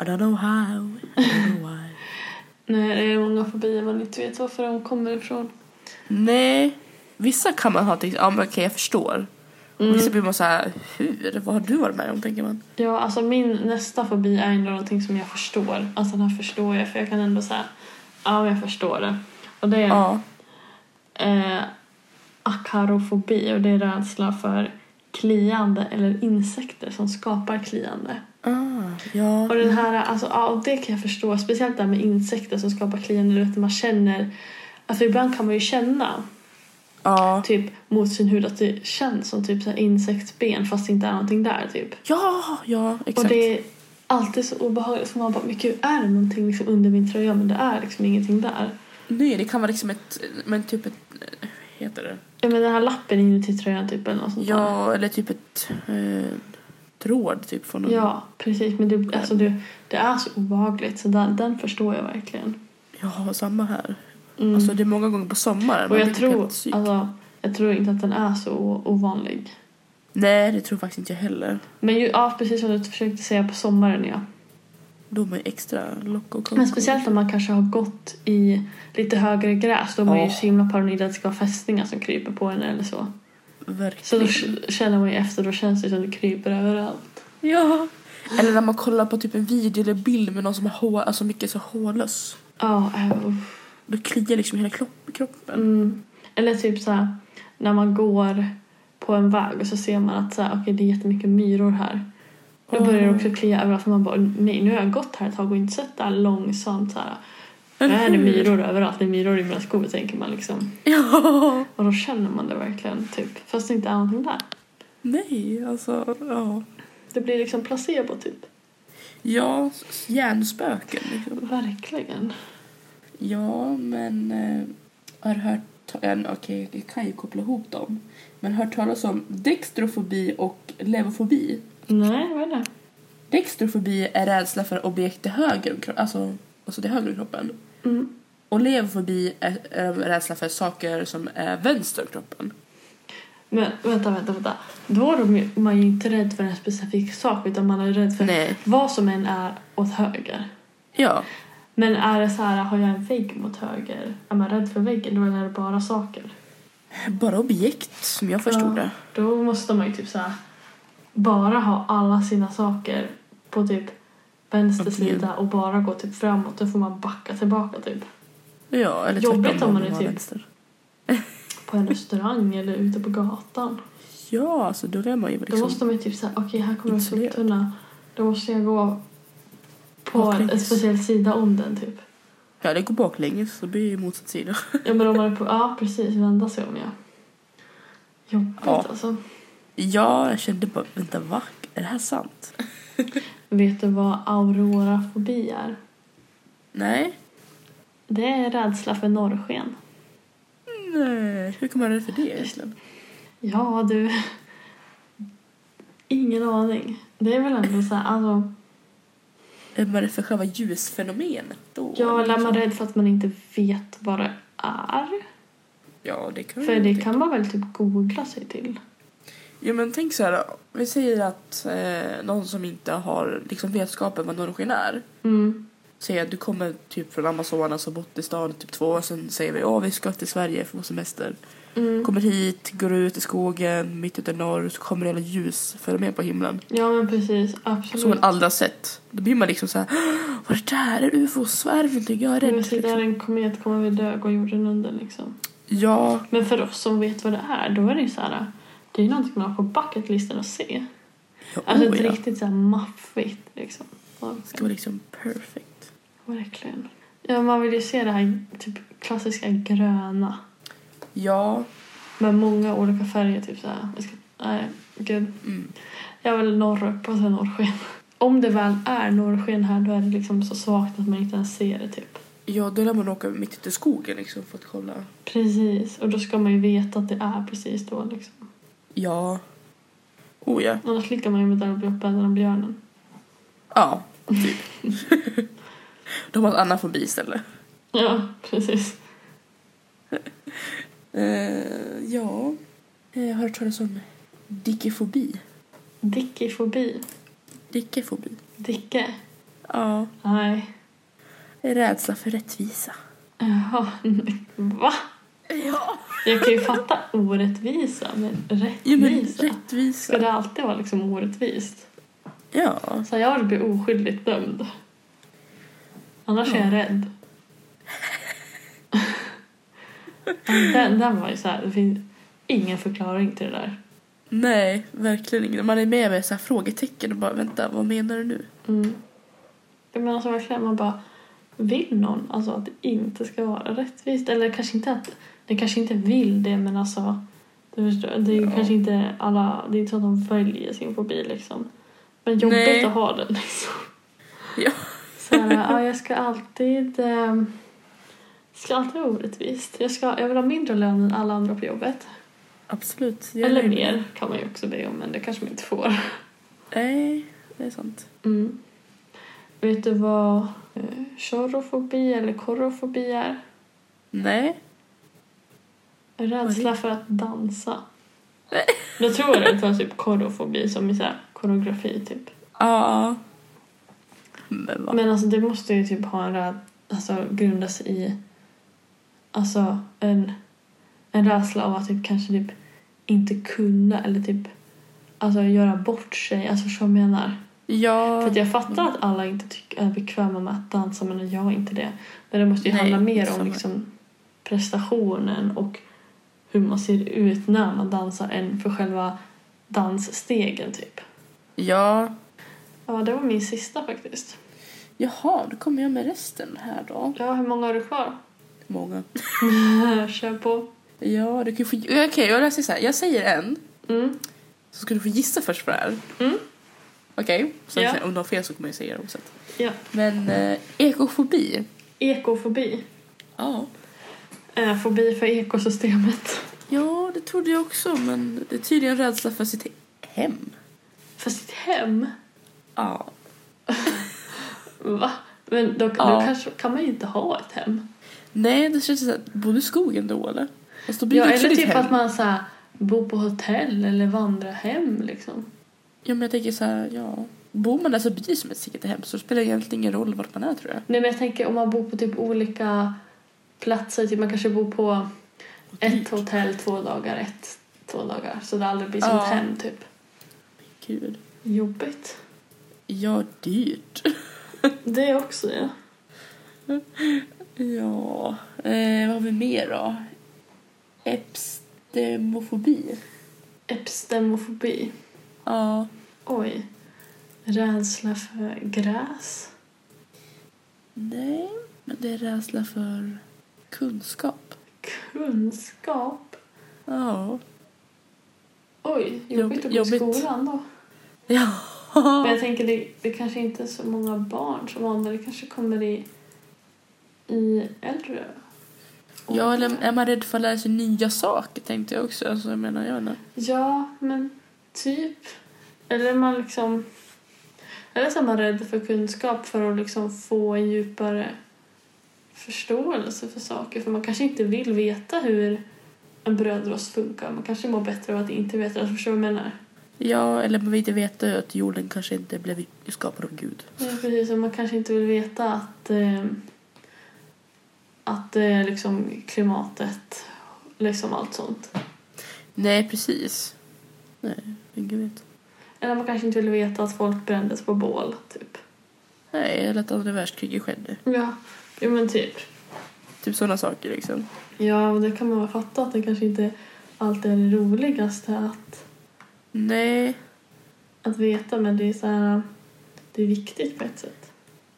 Speaker 2: I don't know how, I don't know why.
Speaker 1: Nej, det är många fobier man inte vet varför de kommer ifrån.
Speaker 2: Nej, vissa kan man ha till ja men okej jag förstår.
Speaker 1: Mm.
Speaker 2: Och Vissa blir man så här, hur? Vad har du varit med om tänker man?
Speaker 1: Ja, alltså min nästa fobi är ändå någonting som jag förstår. Alltså den här förstår jag för jag kan ändå säga ja, men jag förstår det. Och det är
Speaker 2: Ja.
Speaker 1: eh, akarofobi och det är rädsla för kliande eller insekter som skapar kliande.
Speaker 2: Ah, ja.
Speaker 1: Och den här, alltså, ja, och det kan jag förstå, speciellt det här med insekter som skapar kliande, du vet när man känner, alltså ibland kan man ju känna
Speaker 2: Ja.
Speaker 1: typ mot sin hud att det känns som typ så här insektsben fast det inte är någonting där typ.
Speaker 2: Ja, ja, exakt.
Speaker 1: Och det är alltid så obehagligt för man bara, men gud är det någonting liksom under min tröja men det är liksom ingenting där.
Speaker 2: Nej, det kan vara liksom ett, men typ ett, eh, heter det?
Speaker 1: Ja men den här lappen inuti tröjan typ eller något sånt där.
Speaker 2: Ja, eller typ ett eh, tråd typ från en...
Speaker 1: Ja, precis. Men det, alltså, det, det är så obehagligt, så den, den förstår jag verkligen.
Speaker 2: Ja, samma här.
Speaker 1: Mm.
Speaker 2: Alltså det är många gånger på sommaren. man
Speaker 1: och jag
Speaker 2: blir typ
Speaker 1: tror,
Speaker 2: helt psyk.
Speaker 1: alltså, jag tror inte att den är så o- ovanlig.
Speaker 2: Nej, det tror faktiskt inte jag heller.
Speaker 1: Men ju, ja, precis som du försökte säga på sommaren, ja.
Speaker 2: Mm. Då är man ju extra lock och
Speaker 1: Men speciellt om man kanske har gått i lite högre gräs, då är man ju
Speaker 2: Ja.
Speaker 1: så himla paranoid att det ska vara fästingar som kryper på en eller så. Så då
Speaker 2: Verkligen.
Speaker 1: k- känner man ju efter, då känns det som det kryper överallt.
Speaker 2: Ja. Eller när man kollar på typ en video eller bild med någon som har hår, alltså mycket så hårlös.
Speaker 1: Ja, eh, uff.
Speaker 2: Då kliar liksom hela kropp, kroppen.
Speaker 1: Mm. Eller typ så här, när man går på en väg och så ser man att så här, okay, det är jättemycket myror här. Då börjar det också klia överallt för man bara nej nu har jag gått här ett tag och inte sett det här långsamt så här. Nu är det myror överallt, det är myror i mina skor tänker man liksom.
Speaker 2: Ja.
Speaker 1: Och då känner man det verkligen typ. Fast det inte är någonting där.
Speaker 2: Nej, alltså ja.
Speaker 1: Det blir liksom placebo typ.
Speaker 2: Ja, s- hjärnspöken liksom.
Speaker 1: Verkligen.
Speaker 2: Ja, men eh, har hört ta- ja, men Okej, jag kan ju koppla ihop dem. Men hört talas om dextrofobi och levofobi.
Speaker 1: Nej, vad är det?
Speaker 2: Dextrofobi är rädsla för objekt till höger om kro- alltså, alltså till höger om kroppen.
Speaker 1: Mm.
Speaker 2: Och levofobi är, är eh, rädsla för saker som är vänster om kroppen.
Speaker 1: Men vänta, vänta, vänta. Då är de ju- man ju inte rädd för en specifik sak utan man är rädd för
Speaker 2: Nej.
Speaker 1: vad som än är åt höger.
Speaker 2: Ja.
Speaker 1: Men är det så här, har jag en vägg mot höger? Är man rädd för väggen då är det bara saker?
Speaker 2: Bara objekt, som jag förstod det.
Speaker 1: Då måste man ju typ så här, bara ha alla sina saker på typ vänster
Speaker 2: Okej.
Speaker 1: sida och bara gå typ framåt. Då får man backa tillbaka typ.
Speaker 2: Ja, eller
Speaker 1: Jobbigt
Speaker 2: tvärtom,
Speaker 1: om man är
Speaker 2: har
Speaker 1: typ-
Speaker 2: vänster.
Speaker 1: På en restaurang eller ute på gatan.
Speaker 2: Ja, alltså då lär man ju
Speaker 1: Då
Speaker 2: liksom...
Speaker 1: måste man ju typ såhär, okej här kommer en
Speaker 2: isolerad.
Speaker 1: soptunna. Då måste jag gå på
Speaker 2: Baklänges.
Speaker 1: en speciell sida om den typ.
Speaker 2: Ja, det går baklänges, så blir det ju motsatt sida.
Speaker 1: Ja men om man är på, ja precis, vända sig om ja. Jobbigt
Speaker 2: Ja.
Speaker 1: alltså.
Speaker 2: Ja, jag kände bara, vänta va? Är det här sant?
Speaker 1: Vet du vad aurorafobi är?
Speaker 2: Nej.
Speaker 1: Det är rädsla för norrsken.
Speaker 2: Nej, hur kan man vara rädd för det egentligen?
Speaker 1: Ja, du. Ingen aning. Det är väl ändå så här, alltså,
Speaker 2: Är man rädd för själva ljusfenomenet då? Liksom?
Speaker 1: jag är man rädd för att man inte vet vad det är.
Speaker 2: Ja, det kan
Speaker 1: För
Speaker 2: jag
Speaker 1: det
Speaker 2: tänka.
Speaker 1: kan man väl typ googla sig till.
Speaker 2: Ja, men tänk så här. Vi säger att eh, någon som inte har liksom vetskapen vad norrsken är.
Speaker 1: Mm.
Speaker 2: Säger att du kommer typ från Amazonas och bott i stan i typ två år. Sen säger vi, ja vi ska till Sverige för vår semester.
Speaker 1: Mm.
Speaker 2: Kommer hit, går ut i skogen, mitt ute i norr. Så kommer det hela ljusfenomen på himlen.
Speaker 1: Ja, men precis.
Speaker 2: Som
Speaker 1: Absolut.
Speaker 2: man aldrig har sett. Då blir man liksom så här. "Åh, Vad är det där? Är ufos? Vad är det för någonting? Jag är
Speaker 1: Om
Speaker 2: rädd.
Speaker 1: vi sitter
Speaker 2: Liksom.
Speaker 1: Mm, där en komet kommer vi dö och gå jorden under liksom.
Speaker 2: Ja,
Speaker 1: Men för oss som vet vad det är, då är det ju så här. Det är ju någonting man har på bucketlisten att se.
Speaker 2: ja,
Speaker 1: Alltså
Speaker 2: oh,
Speaker 1: ett
Speaker 2: ja.
Speaker 1: riktigt så här maffigt liksom.
Speaker 2: Det ska vara liksom perfect.
Speaker 1: Verkligen. Ja, man vill ju se det här typ klassiska gröna.
Speaker 2: Ja.
Speaker 1: Med många olika färger. Typ så här. Jag ska, nej, gud.
Speaker 2: Mm.
Speaker 1: Jag vill norrupp och sen norrsken. Om det väl är norrsken här då är det liksom så svagt att man inte ens ser det. typ.
Speaker 2: Ja, då lär man åka mitt ute i skogen liksom för att kolla.
Speaker 1: Precis. Och då ska man ju veta att det är precis då. Liksom.
Speaker 2: Ja. Oh ja.
Speaker 1: Annars ligger man ju med den och blir uppäten av björnen.
Speaker 2: Ja, typ. De har en annan fobi istället.
Speaker 1: Ja, precis.
Speaker 2: Eh, ja. Eh, Jag har hört talas om dickefobi.
Speaker 1: Dickifobi.
Speaker 2: Dickefobi?
Speaker 1: Dicke?
Speaker 2: Ja.
Speaker 1: Nej.
Speaker 2: Rädsla för rättvisa.
Speaker 1: Jaha. Va?
Speaker 2: Ja.
Speaker 1: Jag kan ju fatta orättvisa, men
Speaker 2: Jo, men
Speaker 1: rättvisa? Ska
Speaker 2: rättvisa.
Speaker 1: det alltid vara liksom orättvist?
Speaker 2: Ja.
Speaker 1: Så jag vill bli oskyldigt dömd. Annars är jag rädd. den, den var ju så här, det finns ingen förklaring till det där.
Speaker 2: Nej, verkligen ingen. Man är med med så här frågetecken och bara vänta, vad menar du nu?
Speaker 1: Mm. Jag menar så verkligen, man bara vill någon alltså att det inte ska vara rättvist? Eller kanske inte att den kanske inte vill det men alltså du förstår, det är ju
Speaker 2: Ja.
Speaker 1: kanske inte alla, det är inte så att de följer sin fobi liksom. Men jobbigt
Speaker 2: Nej.
Speaker 1: att ha den liksom.
Speaker 2: Ja.
Speaker 1: Så här, ja, jag ska alltid eh, ska alltid vara orättvist. Jag, ska, jag vill ha mindre lön än alla andra på jobbet.
Speaker 2: Absolut. jag
Speaker 1: Eller
Speaker 2: är med.
Speaker 1: mer kan man ju också be om men det kanske man inte får.
Speaker 2: Nej, det är sant.
Speaker 1: Mm. Vet du vad eh, chorofobi eller korofobi är?
Speaker 2: Nej.
Speaker 1: Rädsla för att dansa. Då tror jag det var typ korofobi som i så här koreografi typ.
Speaker 2: Ja. Men va?
Speaker 1: Men alltså det måste ju typ ha en rädsla, alltså grundas i alltså en, en rädsla av att typ kanske typ inte kunna eller typ alltså göra bort sig, alltså som jag menar.
Speaker 2: Ja.
Speaker 1: För att jag fattar att alla inte tyck- är bekväma med att dansa men jag är inte det. Men det måste ju
Speaker 2: Nej,
Speaker 1: handla mer om
Speaker 2: samma.
Speaker 1: liksom, prestationen och hur man ser ut när man dansar än för själva dansstegen typ.
Speaker 2: ja.
Speaker 1: Ja, det var min sista faktiskt.
Speaker 2: Jaha, då kommer jag med resten här då.
Speaker 1: Ja, hur många har du kvar?
Speaker 2: Många. Eh,
Speaker 1: Kör på.
Speaker 2: Ja, du kan ju få... Okej, jag läser så här. Jag säger en,
Speaker 1: Mm.
Speaker 2: så ska du få gissa först vad det är.
Speaker 1: Mm.
Speaker 2: Okej? Sen
Speaker 1: Ja.
Speaker 2: så- Om du har fel så kommer jag säga det oavsett.
Speaker 1: Ja.
Speaker 2: Men eh, ekofobi.
Speaker 1: Ekofobi.
Speaker 2: Ja.
Speaker 1: Eh, fobi för ekosystemet.
Speaker 2: Ja, det trodde jag också, men det är tydligen rädsla för sitt hem.
Speaker 1: För sitt hem?
Speaker 2: Ja.
Speaker 1: Va? Men då,
Speaker 2: Ja.
Speaker 1: då kanske, kan man ju inte ha ett hem.
Speaker 2: Nej, det känns så här, bor du i skogen då eller? Fast då blir
Speaker 1: Ja,
Speaker 2: det också
Speaker 1: eller
Speaker 2: ditt
Speaker 1: typ
Speaker 2: hem.
Speaker 1: att man så här, bor på hotell eller vandrar hem liksom.
Speaker 2: Ja, men jag tänker så här, ja. Bor man där så blir det som ett eget hem, så det spelar egentligen ingen roll vart man är tror jag.
Speaker 1: Nej men jag tänker om man bor på typ olika platser, typ man kanske bor på
Speaker 2: Typ.
Speaker 1: ett hotell två dagar, ett två dagar. Så det aldrig blir som
Speaker 2: Ja.
Speaker 1: ett hem typ.
Speaker 2: Gud.
Speaker 1: Jobbigt.
Speaker 2: Ja, dyrt.
Speaker 1: Det också ja.
Speaker 2: Ja, eh, vad har vi mer då? Epstemofobi.
Speaker 1: Epstemofobi.
Speaker 2: Ja.
Speaker 1: Oj. Rädsla för gräs.
Speaker 2: Nej, men det är rädsla för kunskap.
Speaker 1: Kunskap.
Speaker 2: Ja.
Speaker 1: Oj,
Speaker 2: Jobb-
Speaker 1: jobbigt att gå i
Speaker 2: jobbigt.
Speaker 1: skolan då.
Speaker 2: Ja.
Speaker 1: Men jag tänker det, det kanske inte är så många barn som har det. Det kanske kommer i, i äldre år.
Speaker 2: Ja, eller är man rädd för att lära sig nya saker tänkte jag också. Alltså, jag menar, jag vet inte.
Speaker 1: Ja, men typ. Eller man liksom... Eller så är man rädd för kunskap för att liksom få en djupare förståelse för saker. För man kanske inte vill veta hur en brödrost funkar. Man kanske mår bättre av att inte veta. Alltså, förstår du vad jag menar?
Speaker 2: Ja, eller man vill inte veta att jorden kanske inte blev skapad av Gud.
Speaker 1: Ja, precis. Och man kanske inte vill veta att, eh, att eh, liksom klimatet, liksom allt sånt.
Speaker 2: Nej, precis. Nej, ingen vet.
Speaker 1: Eller man kanske inte vill veta att folk brändes på bål, typ.
Speaker 2: Nej, eller att andra världskriget skedde.
Speaker 1: Ja, jo, men typ.
Speaker 2: Typ sådana saker liksom.
Speaker 1: Ja, men det kan man väl fatta att det kanske inte alltid är det roligaste att,
Speaker 2: Nej.
Speaker 1: att veta, men det är så här, det är viktigt på ett sätt.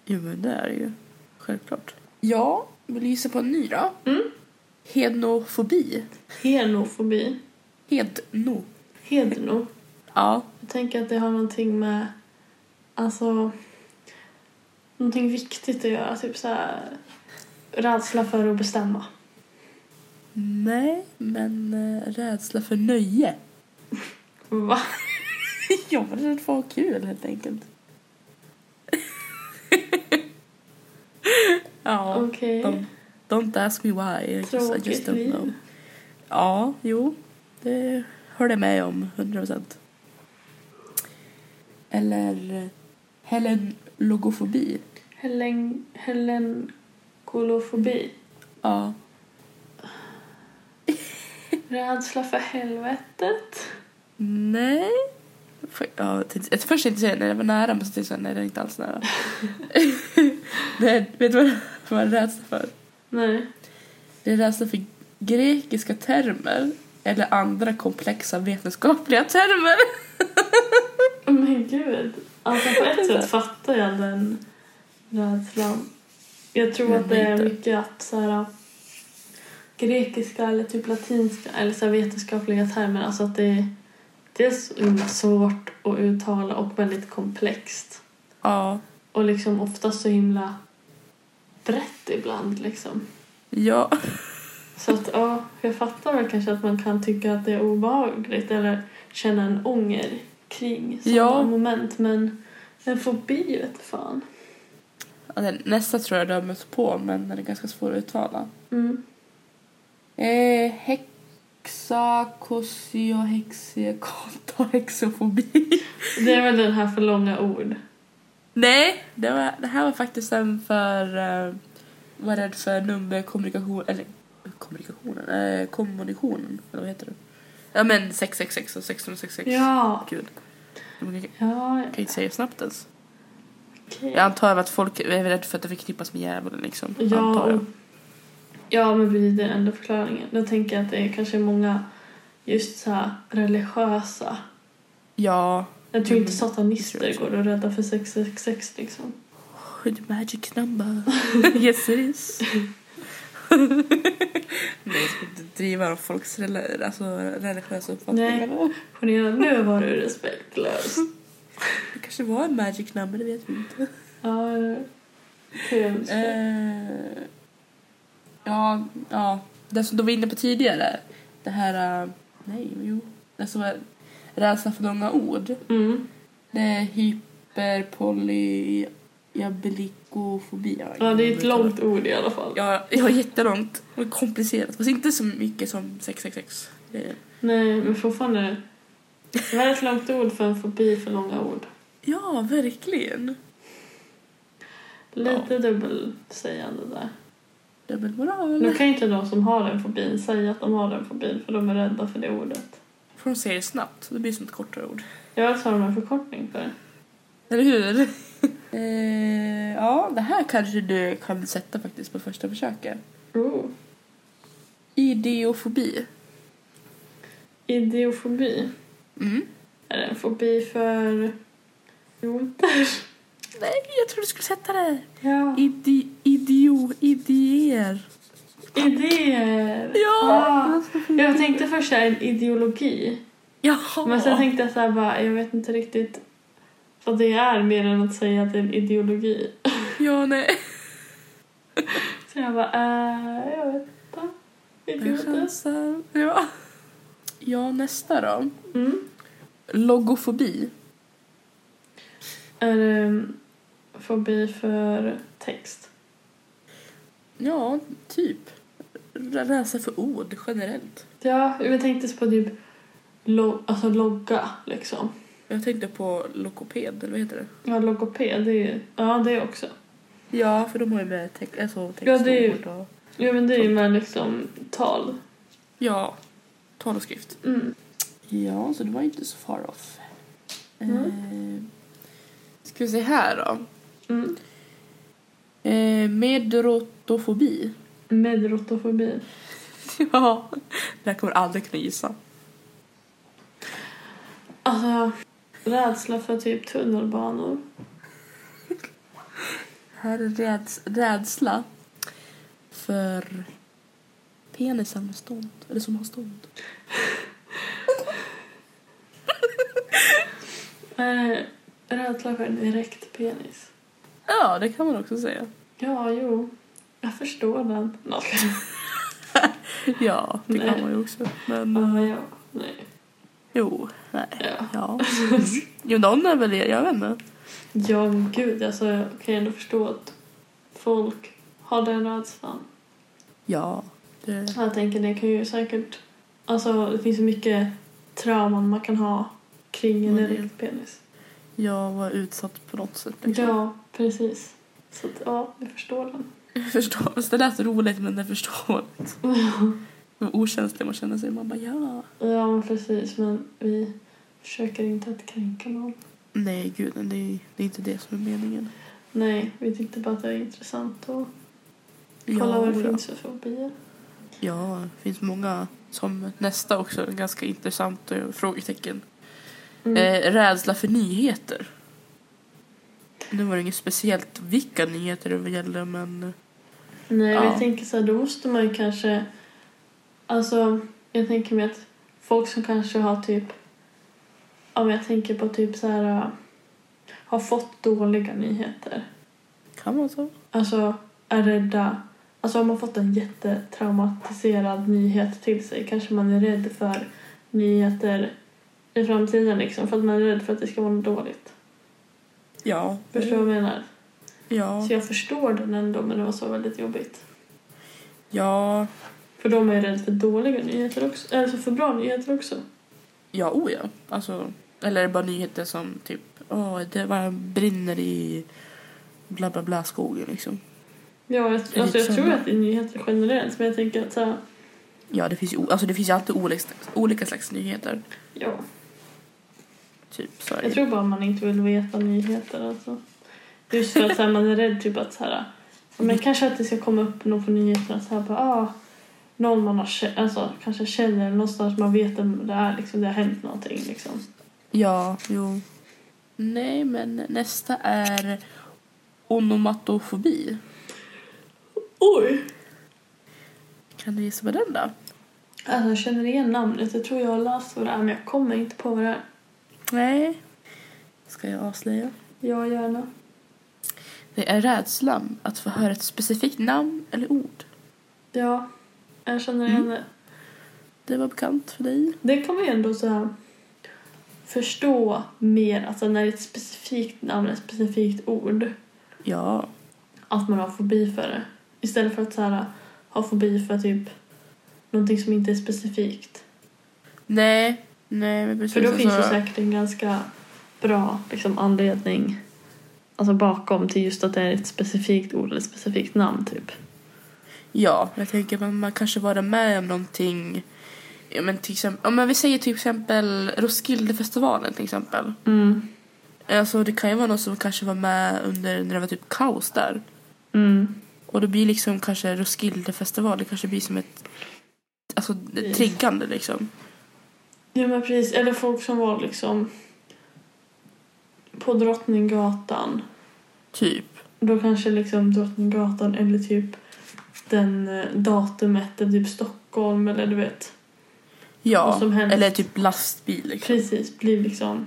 Speaker 2: Jo, men det är det ju. Självklart. Ja, vill du gissa på en ny då?
Speaker 1: Mm.
Speaker 2: Hednofobi.
Speaker 1: Hednofobi.
Speaker 2: Hedno.
Speaker 1: Hedno.
Speaker 2: Ja.
Speaker 1: Jag tänker att det har någonting med, alltså, någonting viktigt att göra. Typ så här, rädsla för att bestämma.
Speaker 2: Nej, men eh, rädsla för nöje.
Speaker 1: Va?
Speaker 2: Jag var rädd för att ha kul helt enkelt. ja,
Speaker 1: Okej.
Speaker 2: don't, don't ask me why. I just, I just
Speaker 1: Tråkigt
Speaker 2: don't
Speaker 1: liv.
Speaker 2: know. Ja, jo. Det höll jag med om, 100 procent. Eller eh, Helen logofobi.
Speaker 1: Helen, Helen kolofobi.
Speaker 2: Ja.
Speaker 1: Rädsla för helvetet.
Speaker 2: Nej. För- Ja, jag tänkte, jag först tänkte jag säga när det var nära, men så tänkte jag nej, det är inte alls nära. nej, vet du vad vad jag är rädsla för?
Speaker 1: Nej.
Speaker 2: Det är rädsla för grekiska termer eller andra komplexa vetenskapliga termer.
Speaker 1: Men gud. Oh Alltså på ett sätt fattar jag den rädslan. Jag tror
Speaker 2: Men
Speaker 1: att det är
Speaker 2: inte.
Speaker 1: mycket att så här, äh, grekiska eller typ latinska eller så här, vetenskapliga termer, alltså att det är dels så himla svårt att uttala och väldigt komplext.
Speaker 2: Ja,
Speaker 1: Och liksom ofta så himla brett ibland liksom.
Speaker 2: ja,
Speaker 1: Så att ja, jag fattar väl kanske att man kan tycka att det är obehagligt eller känna en ånger kring sådana
Speaker 2: Ja.
Speaker 1: moment. Men en fobi vet fan.
Speaker 2: alltså, nästa tror jag du har mött på, men den är ganska svår att uttala.
Speaker 1: Mm.
Speaker 2: Eh, hexa, kosio, hexe, konto, hexofobi.
Speaker 1: Det är väl den här för långa ord.
Speaker 2: Nej, det, var, det här var faktiskt en för... Eh, var rädd för nummerkommunikation... Eller kommunikationen? Eh, kommunikationen, eller vad heter det? Ja men 666 och 1666.
Speaker 1: Ja,
Speaker 2: Kul. Men jag
Speaker 1: Ja,
Speaker 2: kan inte säga snabbt ens.
Speaker 1: okej.
Speaker 2: Jag antar att folk är rädda för att det förknippas med djävulen liksom.
Speaker 1: Ja,
Speaker 2: Antar jag.
Speaker 1: och, ja, men precis, det är den enda förklaringen. Då tänker jag att det är kanske många just så här religiösa.
Speaker 2: Ja.
Speaker 1: Jag tror
Speaker 2: Mm.
Speaker 1: inte satanister
Speaker 2: Jag tror
Speaker 1: går och räddar för 666 liksom.
Speaker 2: The magic number. yes it is. Nej, jag ska inte driva om folks rela- alltså, religiösa uppfattningar.
Speaker 1: Ponera, nu var du respektlös.
Speaker 2: Det kanske var en magic number, det vet vi inte.
Speaker 1: Ja, eller- hur jag minns det.
Speaker 2: Eh, ja, ja. Det som du var inne på tidigare. Det här... eh, nej, jo. Det som är rädslan för långa ord.
Speaker 1: Mm.
Speaker 2: Det är hyperpolyabilikofobi.
Speaker 1: Ja, det är ett långt ord i alla fall.
Speaker 2: Ja, ja jättelångt. Och komplicerat. Fast inte så mycket som 666. Det är,
Speaker 1: Nej, men fortfarande. Det var ett långt ord för en fobi för långa ord.
Speaker 2: ja, verkligen.
Speaker 1: Lite dubbelsägande där. Nu
Speaker 2: Dubbelmoral.
Speaker 1: kan ju inte de som har den fobin säga att de har den fobin för de är rädda för det ordet.
Speaker 2: För de säger det snabbt. Det blir som ett kortare ord.
Speaker 1: Jag tar de en förkortning för det.
Speaker 2: Eller hur? eh, ja, det här kanske du kan sätta faktiskt på första försöket.
Speaker 1: Oh.
Speaker 2: Ideofobi.
Speaker 1: Ideofobi.
Speaker 2: Mm.
Speaker 1: Är det en fobi för idioter?
Speaker 2: Nej, jag tror du skulle sätta det.
Speaker 1: Ja.
Speaker 2: Idi, idio, idéer.
Speaker 1: Idéer!
Speaker 2: Ja!
Speaker 1: Ah. Jag tänkte först så här, en ideologi.
Speaker 2: Jaha.
Speaker 1: Men sen tänkte jag så här bara, jag vet inte riktigt vad det är mer än att säga att det är en ideologi.
Speaker 2: Ja, nej.
Speaker 1: Så jag bara, eh, jag vet inte.
Speaker 2: Jag
Speaker 1: Idioter.
Speaker 2: chansar. Ja. ja, nästa då.
Speaker 1: Mm.
Speaker 2: Logofobi.
Speaker 1: Är det en fobi för text?
Speaker 2: Ja, typ. R- Rädsla för ord generellt.
Speaker 1: Ja, jag tänkte så på typ lo- alltså logga liksom.
Speaker 2: Jag tänkte på logoped, eller vad heter det?
Speaker 1: Ja, logoped, det är ju... Ja, det också.
Speaker 2: Ja, för de har ju med text, alltså text
Speaker 1: Ja, det är ju-
Speaker 2: och ord och...
Speaker 1: Jo, men det är ju med liksom tal.
Speaker 2: Ja, tal och skrift.
Speaker 1: Mm.
Speaker 2: Ja, så det var inte så far off.
Speaker 1: Mm.
Speaker 2: Eh, ska vi se här då.
Speaker 1: Mm.
Speaker 2: Eh, medrotofobi.
Speaker 1: Medrotofobi.
Speaker 2: ja, det här kommer du aldrig kunna gissa.
Speaker 1: Alltså, rädsla för typ tunnelbanor.
Speaker 2: Här är räds rädsla för penisar med stånd. Eller som har stånd.
Speaker 1: Eh, rädsla för en erekt penis.
Speaker 2: Ja, det kan man också säga.
Speaker 1: Ja, jo. Jag förstår den. Nå, ska jag-
Speaker 2: Ja, det
Speaker 1: Nej.
Speaker 2: kan man ju också. Men eh,
Speaker 1: Ja, ja. Nej.
Speaker 2: jo, nej,
Speaker 1: Ja.
Speaker 2: ja. Jo, någon är väl det. Jag vet inte.
Speaker 1: ja, men gud. Alltså, jag kan ju ändå förstå att folk har den rädslan.
Speaker 2: Ja, det...
Speaker 1: Jag tänker det kan ju säkert... Alltså det finns ju mycket trauman man kan ha kring en
Speaker 2: Ja, det-
Speaker 1: erekt penis.
Speaker 2: jag var utsatt på något sätt. liksom.
Speaker 1: Ja, precis. Så att, ja, jag förstår den.
Speaker 2: Jag förstår. Fast Det lät roligt men det förstår inte. Hur okänslig man känner sig. Man bara ja.
Speaker 1: Ja, men precis. Men vi försöker inte att kränka någon.
Speaker 2: Nej gud, nej, det är, det är inte det som är meningen.
Speaker 1: Nej, vi tyckte bara att det var intressant att kolla
Speaker 2: ja,
Speaker 1: vad det
Speaker 2: ja.
Speaker 1: finns för fobier.
Speaker 2: Ja, det finns många som nästa också. Ganska intressant eh, frågetecken.
Speaker 1: Mm.
Speaker 2: Eh, rädsla för nyheter. Nu var det inget speciellt vilka nyheter det gällde men
Speaker 1: Nej, men
Speaker 2: ja.
Speaker 1: jag tänker så här, då måste man ju kanske... Alltså, jag tänker mig att folk som kanske har typ... Ja, men jag tänker på typ så här... äh, Har fått dåliga nyheter.
Speaker 2: kan man så?
Speaker 1: Alltså, är rädda. Alltså har man fått en jättetraumatiserad nyhet till sig kanske man är rädd för nyheter i framtiden liksom. För att man är rädd för att det ska vara något dåligt.
Speaker 2: Ja.
Speaker 1: Förstår du vad jag menar?
Speaker 2: Ja.
Speaker 1: Så jag förstår den ändå men det var så väldigt jobbigt.
Speaker 2: Ja.
Speaker 1: För de är rädda för dåliga nyheter också. Alltså för bra nyheter också.
Speaker 2: Ja, oh ja. Alltså, eller är det bara nyheter som typ, åh, det var, brinner i bla bla bla skogen liksom.
Speaker 1: Ja, jag, alltså jag
Speaker 2: Lite
Speaker 1: tror
Speaker 2: så.
Speaker 1: att det är nyheter generellt men jag tänker att så här,
Speaker 2: Ja, det finns ju, o- alltså, det finns ju alltid olika, olika slags nyheter.
Speaker 1: ja.
Speaker 2: Typ så är det
Speaker 1: Jag
Speaker 2: ju.
Speaker 1: tror bara man inte vill veta nyheter. Alltså. Just för att så här, man är rädd typ att så här, men kanske att det ska komma upp någon på nyheterna så här bara, ah, någon man har, kä- alltså, kanske känner någonstans man vet vem det är liksom, det har hänt någonting liksom.
Speaker 2: Ja, jo. Nej, men nästa är onomatofobi.
Speaker 1: Oj!
Speaker 2: Kan du gissa på den då?
Speaker 1: Alltså jag känner igen namnet, jag tror jag har läst vad det är men jag kommer inte på vad det är.
Speaker 2: Nej. Ska jag avslöja?
Speaker 1: Ja, gärna.
Speaker 2: Det är rädslan att få höra ett specifikt namn eller ord.
Speaker 1: Ja, jag känner igen det.
Speaker 2: Det var bekant för dig.
Speaker 1: Det kan man ju ändå så här förstå mer, alltså när det är ett specifikt namn, ett specifikt ord.
Speaker 2: Ja.
Speaker 1: att man har fobi för det. Istället för att så här, ha fobi för typ någonting som inte är specifikt.
Speaker 2: Nej. Nej, men precis.
Speaker 1: För då finns det
Speaker 2: alltså-
Speaker 1: säkert en ganska bra liksom, anledning alltså bakom till just att det är ett specifikt ord eller ett specifikt namn typ.
Speaker 2: Ja, jag tänker man, man kanske vara med om någonting. Ja, men till exempel, om vi säger till exempel Roskildefestivalen till exempel.
Speaker 1: Mm.
Speaker 2: Alltså det kan ju vara någon som kanske var med under när det var typ kaos där.
Speaker 1: Mm.
Speaker 2: Och då blir liksom kanske Roskildefestival, det kanske blir som ett Alltså
Speaker 1: Yes.
Speaker 2: triggande liksom.
Speaker 1: Ja men precis, eller folk som var liksom på Drottninggatan.
Speaker 2: Typ.
Speaker 1: Då kanske liksom Drottninggatan eller typ den eh, datumet, eller typ Stockholm eller du vet.
Speaker 2: Ja.
Speaker 1: Vad som helst.
Speaker 2: Eller typ lastbil liksom.
Speaker 1: Precis, blir liksom...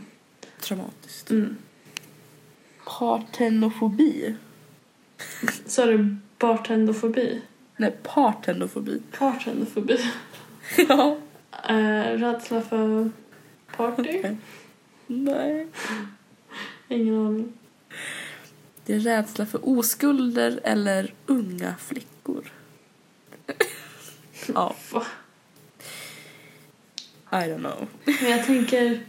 Speaker 2: Traumatiskt.
Speaker 1: Mm.
Speaker 2: Partenofobi.
Speaker 1: Så är det bartendofobi.
Speaker 2: Nej, partendofobi.
Speaker 1: Bartendofobi.
Speaker 2: ja.
Speaker 1: Eh, rädsla för party?
Speaker 2: Okej. Nej.
Speaker 1: Ingen aning.
Speaker 2: Det är rädsla för oskulder eller unga flickor. ja.
Speaker 1: Va?
Speaker 2: I don't know.
Speaker 1: Men jag tänker...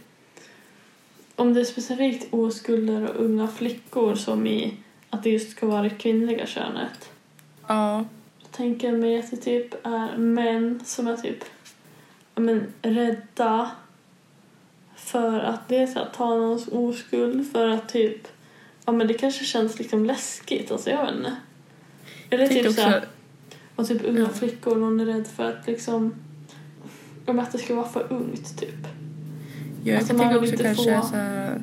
Speaker 1: Om det är specifikt oskulder och unga flickor som i att det just ska vara det kvinnliga könet.
Speaker 2: Ja.
Speaker 1: Då tänker jag mig att det typ är män som är typ ja, men, rädda för att dels att ta någons oskuld för att typ ja men det kanske känns liksom läskigt alltså jag vet inte. Eller
Speaker 2: Jag
Speaker 1: typ
Speaker 2: tänkte
Speaker 1: såhär
Speaker 2: också...
Speaker 1: Och typ unga
Speaker 2: Ja.
Speaker 1: flickor, någon är rädd för att liksom... Om att det ska vara för ungt, typ.
Speaker 2: Jag
Speaker 1: Alltså, man
Speaker 2: tänker
Speaker 1: vill
Speaker 2: också
Speaker 1: inte
Speaker 2: kanske
Speaker 1: få-
Speaker 2: så här...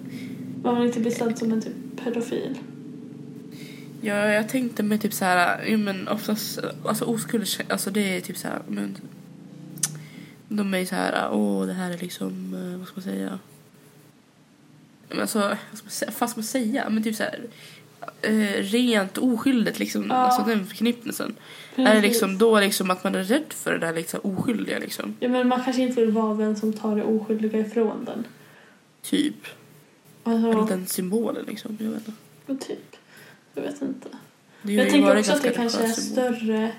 Speaker 1: Man vill inte bli sedd som en typ pedofil.
Speaker 2: Ja, jag tänkte med typ så här, ja, men oftast, alltså oskuld, alltså det är typ så här, men de är ju så här, åh det här är liksom, eh, vad ska man säga? Men alltså, vad ska man säga, fast man säga, men typ så här, eh, rent oskyldigt liksom,
Speaker 1: Ja. Mm,
Speaker 2: alltså den förknippelsen. Är det liksom då liksom att man är rädd för det där liksom oskyldiga liksom,
Speaker 1: Ja, men man kanske inte vill vara den som tar det oskyldiga ifrån den.
Speaker 2: typ. Eller
Speaker 1: Alltså,
Speaker 2: den symbolen liksom, jag vet inte.
Speaker 1: men typ. Jag vet inte.
Speaker 2: Det har
Speaker 1: Jag
Speaker 2: ju
Speaker 1: tänker
Speaker 2: varit
Speaker 1: också att det
Speaker 2: ganska
Speaker 1: kanske är
Speaker 2: religiös symbol.
Speaker 1: större...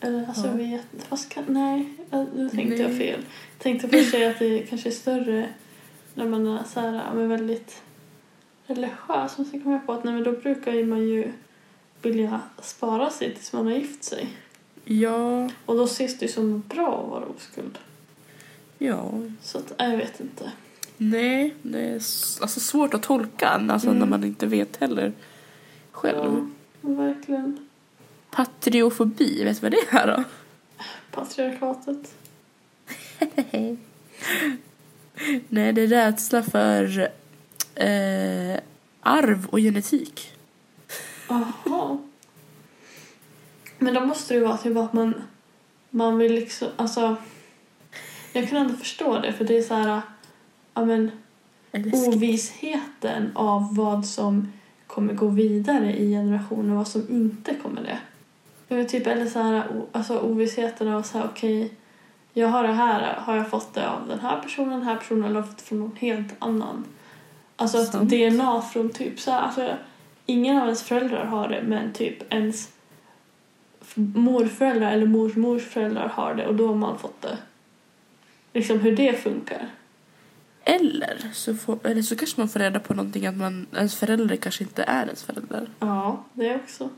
Speaker 1: Eller alltså
Speaker 2: Ja.
Speaker 1: jag vet inte. Fast kan, nej, ja, nu tänkte jag
Speaker 2: Nej.
Speaker 1: fel. Jag tänkte först säga att det kanske är större när man är så här, ja, men väldigt religiös. Men sen kom jag på att nej, men då brukar ju man ju vilja spara sig tills man har gift sig.
Speaker 2: Ja,
Speaker 1: Och då ses det ju som bra att vara oskuld.
Speaker 2: ja,
Speaker 1: Så att, nej, jag vet inte.
Speaker 2: Nej, det är s- alltså svårt att tolka alltså
Speaker 1: Mm.
Speaker 2: när man inte vet heller själv.
Speaker 1: Ja, verkligen.
Speaker 2: Patriofobi, vet du vad det är då?
Speaker 1: Patriarkatet.
Speaker 2: Nej, det är rädsla för eh, arv och genetik.
Speaker 1: Jaha. Men då måste det ju vara typ att man, man vill liksom... Alltså, jag kan ändå förstå det, för det är så här... Ja, men, Mm. ovissheten av vad som kommer gå vidare i generationer och vad som inte kommer det. Jag vet typ, eller så här, o- alltså ovissheten av så här, okej, jag har det här, har jag fått det av den här personen, den här personen eller har jag fått det från någon helt annan? Alltså att
Speaker 2: Sant.
Speaker 1: DNA från typ så här, alltså ingen av ens föräldrar har det men typ ens f- morföräldrar eller mormors föräldrar har det och då har man fått det. Liksom hur det funkar.
Speaker 2: Eller så, får, eller så kanske man får reda på någonting att man, ens förälder kanske inte är ens förälder.
Speaker 1: Ja, det också.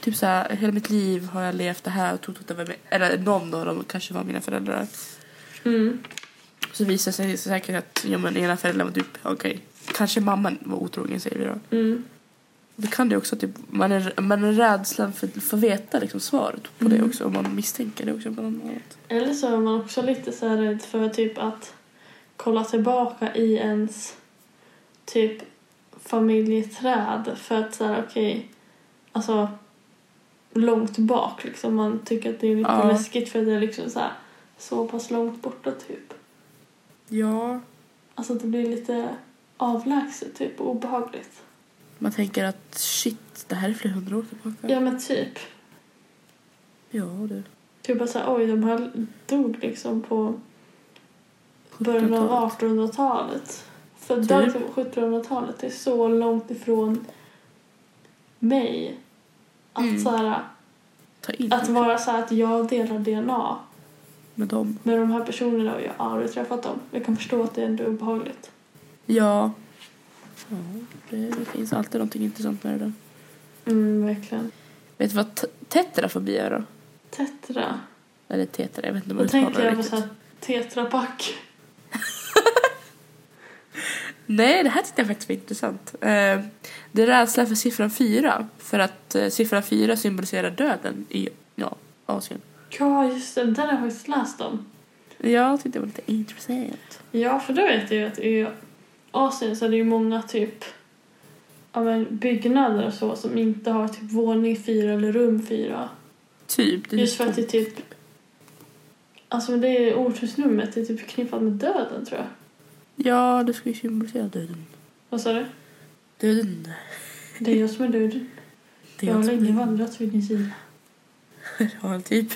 Speaker 2: Typ så här, hela mitt liv har jag levt det här och trott att det var min, eller någon av dem kanske var mina föräldrar.
Speaker 1: Mm.
Speaker 2: Så visar det sig säkert att ja, men ena föräldern var typ, okej, kanske mamman var otrogen säger vi då.
Speaker 1: Mm.
Speaker 2: Det kan det också, typ, man är, man är rädslan för att få veta liksom, svaret på det
Speaker 1: Mm.
Speaker 2: också om man misstänker det också på något annat.
Speaker 1: Eller så är man också lite så här rädd för typ att kolla tillbaka i ens typ familjeträd för att så här okej, alltså långt bak liksom man tycker att det är lite
Speaker 2: Ja.
Speaker 1: läskigt för att det är liksom så här så pass långt borta typ.
Speaker 2: Ja.
Speaker 1: Alltså det blir lite avlägset typ och obehagligt.
Speaker 2: Man tänker att shit, det här är flera hundra år tillbaka.
Speaker 1: Ja men typ.
Speaker 2: ja du.
Speaker 1: Typ bara så här, oj de här dog liksom på början av 1800-talet. Födda
Speaker 2: Typ.
Speaker 1: liksom på 1700-talet. Det är så långt ifrån mig. Att,
Speaker 2: Mm.
Speaker 1: så här,
Speaker 2: Ta in
Speaker 1: att vara så här att jag delar DNA
Speaker 2: med dem.
Speaker 1: med de här personerna och jag har aldrig träffat dem. Jag kan förstå att det är ändå obehagligt.
Speaker 2: Ja. ja det, det finns alltid någonting intressant med det där.
Speaker 1: Mm, verkligen.
Speaker 2: Vet du vad t- tetrafobi är då?
Speaker 1: Tetra.
Speaker 2: Eller tetra, jag vet inte om
Speaker 1: Då
Speaker 2: jag uttalar
Speaker 1: tänker
Speaker 2: det
Speaker 1: jag på
Speaker 2: riktigt.
Speaker 1: så här tetrapack.
Speaker 2: Nej, det här tyckte jag faktiskt var intressant. Eh, det är rädsla för siffran fyra. För att eh, siffran fyra symboliserar döden i ja, Asien.
Speaker 1: Ja, just det. Den har jag faktiskt läst om.
Speaker 2: Jag tyckte det var lite intressant.
Speaker 1: Ja, för då vet jag ju att i Asien så är det ju många typ ja, men byggnader och så som inte har typ våning fyra eller rum fyra.
Speaker 2: Typ. det är
Speaker 1: Just för att det
Speaker 2: tomt.
Speaker 1: är typ... Alltså men det är ortusnumret, det är typ förknippat med döden tror jag.
Speaker 2: Ja, det ska ju symbolisera döden.
Speaker 1: Vad sa du?
Speaker 2: Döden.
Speaker 1: Det är jag som är döden.
Speaker 2: Det
Speaker 1: Jag har
Speaker 2: jag som-
Speaker 1: länge vandrat vid din sida.
Speaker 2: Ja, typ.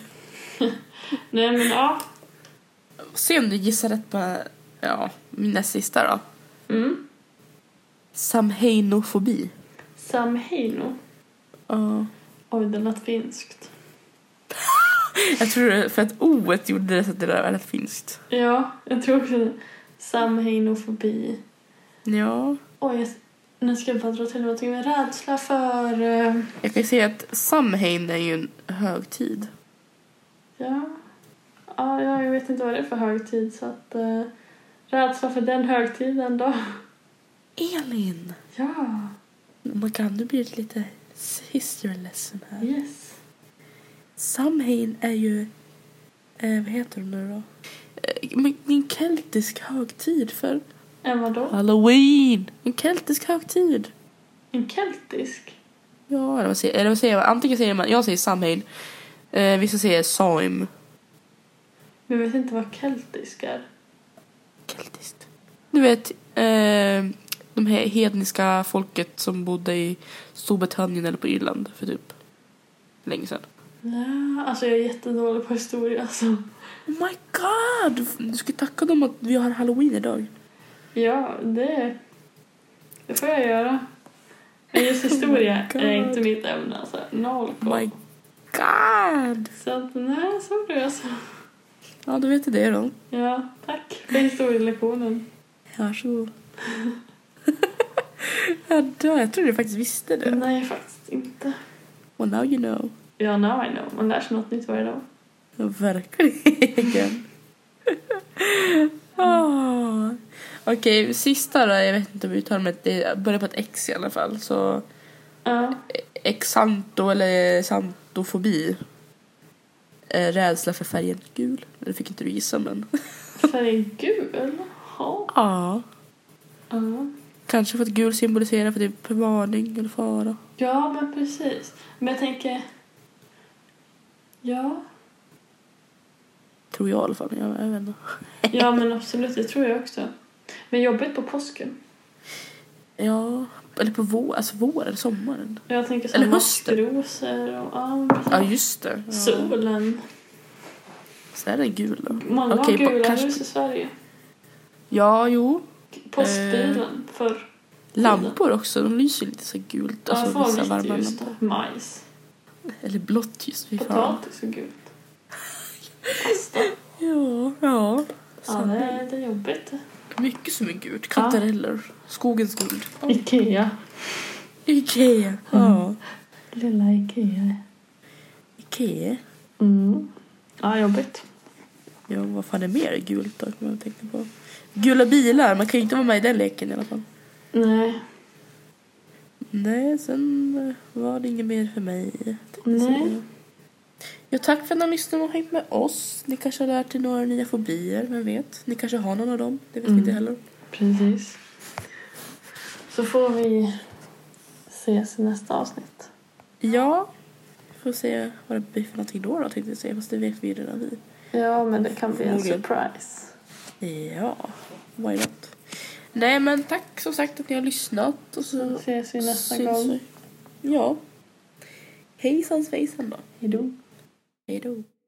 Speaker 1: Nej men ja.
Speaker 2: Se om du gissar rätt på ja, min näst sista då.
Speaker 1: Mm.
Speaker 2: Samhainofobi.
Speaker 1: Samhaino.
Speaker 2: Ja.
Speaker 1: Oj, det lät finskt.
Speaker 2: Jag tror det för att o gjorde det så att det där var rätt finskt.
Speaker 1: Ja, jag tror också det. Samhainofobi.
Speaker 2: Ja.
Speaker 1: Oj, jag, nu ska jag bara dra till någonting med rädsla för... eh,
Speaker 2: Jag kan ju säga att Samhain är ju en högtid.
Speaker 1: Ja. Ja, ja, jag vet inte vad det är för högtid så att... Eh, rädsla för den högtiden då.
Speaker 2: Elin!
Speaker 1: Ja,
Speaker 2: Oh my god, nu blir det lite history lesson här.
Speaker 1: yes.
Speaker 2: Samhain är ju... Eh, vad heter de nu då? Eh, men en keltisk högtid för...
Speaker 1: En vadå?
Speaker 2: Halloween! En keltisk högtid!
Speaker 1: En keltisk?
Speaker 2: Ja, eller vad säger, eller vad säger man? Antingen säger man... Jag säger Samhain. Eh, vissa säger Saim.
Speaker 1: Men jag vet inte vad keltisk är.
Speaker 2: Keltiskt. Du vet, eh, de här hedniska folket som bodde i Storbritannien eller på Irland för typ länge sedan.
Speaker 1: Ja, alltså jag är jättedålig på historia alltså.
Speaker 2: Oh my god! Du ska tacka dem att vi har halloween idag.
Speaker 1: Ja, det... Det får jag göra. Men just historia
Speaker 2: Oh my
Speaker 1: är
Speaker 2: God.
Speaker 1: inte mitt ämne alltså. Noll
Speaker 2: Oh
Speaker 1: koll.
Speaker 2: my god!
Speaker 1: Så att, nej, så du alltså.
Speaker 2: Ja, då vet du det då.
Speaker 1: Ja, tack för historielektionen.
Speaker 2: Varsågod. jag dör. Jag trodde du faktiskt visste det.
Speaker 1: Nej, faktiskt inte.
Speaker 2: Well, now you know.
Speaker 1: Ja, now I know. Man lär sig något nytt varje dag.
Speaker 2: Ja, Verkligen. Ah. Okej, sista då. Jag vet inte om jag uttalar mig. Det börjar på ett X i alla fall. Så
Speaker 1: Ja.
Speaker 2: exanto eller santofobi. Eh, rädsla för färgen gul. Det fick inte du gissa men.
Speaker 1: Färgen gul? Ja.
Speaker 2: Ja.
Speaker 1: Ja.
Speaker 2: Kanske för att gul symboliserar för typ varning eller fara.
Speaker 1: Ja, men precis. Men jag tänker... Ja.
Speaker 2: Tror jag i alla fall. Jag, jag vet inte.
Speaker 1: Ja, men absolut. Det tror jag också. Men jobbigt på påsken.
Speaker 2: Ja, eller på vår, alltså våren, sommaren.
Speaker 1: Jag tänker så
Speaker 2: Eller
Speaker 1: här
Speaker 2: hösten.
Speaker 1: maskrosor och... Ja, men precis.
Speaker 2: Ja, just det. Ja.
Speaker 1: Solen.
Speaker 2: Så är den gul då.
Speaker 1: Många har
Speaker 2: Okej, på-
Speaker 1: gula
Speaker 2: kanske-
Speaker 1: hus i Sverige.
Speaker 2: Ja, jo.
Speaker 1: Postbilen
Speaker 2: Eh,
Speaker 1: förr.
Speaker 2: Lampor också, de lyser lite så gult.
Speaker 1: Ja,
Speaker 2: Alltså vissa
Speaker 1: får
Speaker 2: varma
Speaker 1: vitt ljus.
Speaker 2: lampor.
Speaker 1: Majs.
Speaker 2: Eller blått ljus, fy fan.
Speaker 1: Potatis och gult. Pasta.
Speaker 2: Ja, ja.
Speaker 1: Ja, det är, det är jobbigt.
Speaker 2: Mycket som är gult. Kantareller. Skogens guld.
Speaker 1: Ikea.
Speaker 2: Ikea. Ja.
Speaker 1: Lilla Ikea.
Speaker 2: Ikea.
Speaker 1: Mm. Ja, jobbigt.
Speaker 2: Ja, vad fan är mer gult då? Kommer jag att tänka på. Gula bilar, man kan ju inte vara med i den leken i alla fall.
Speaker 1: Nej.
Speaker 2: Nej, sen eh, var det inget mer för mig. tänkte jag
Speaker 1: Nej.
Speaker 2: säga. Ja, tack för att ni har lyssnat och hängt med oss. Ni kanske har lärt er några nya fobier, vem vet? Ni kanske har någon av dem, det vet vi
Speaker 1: Mm.
Speaker 2: inte heller.
Speaker 1: Precis. Så får vi ses i nästa avsnitt.
Speaker 2: Ja, får se vad det blir för någonting då, då tänkte jag säga. Fast det vet vi ju redan vi.
Speaker 1: Ja, men det kan bli en
Speaker 2: Förmodligen.
Speaker 1: surprise.
Speaker 2: Ja, why not? Nej, men tack som sagt att ni har lyssnat. Och så
Speaker 1: Ses vi nästa
Speaker 2: syns
Speaker 1: gång.
Speaker 2: vi. Ja. Hejsan svejsan då.
Speaker 1: Hejdå.
Speaker 2: Hej då.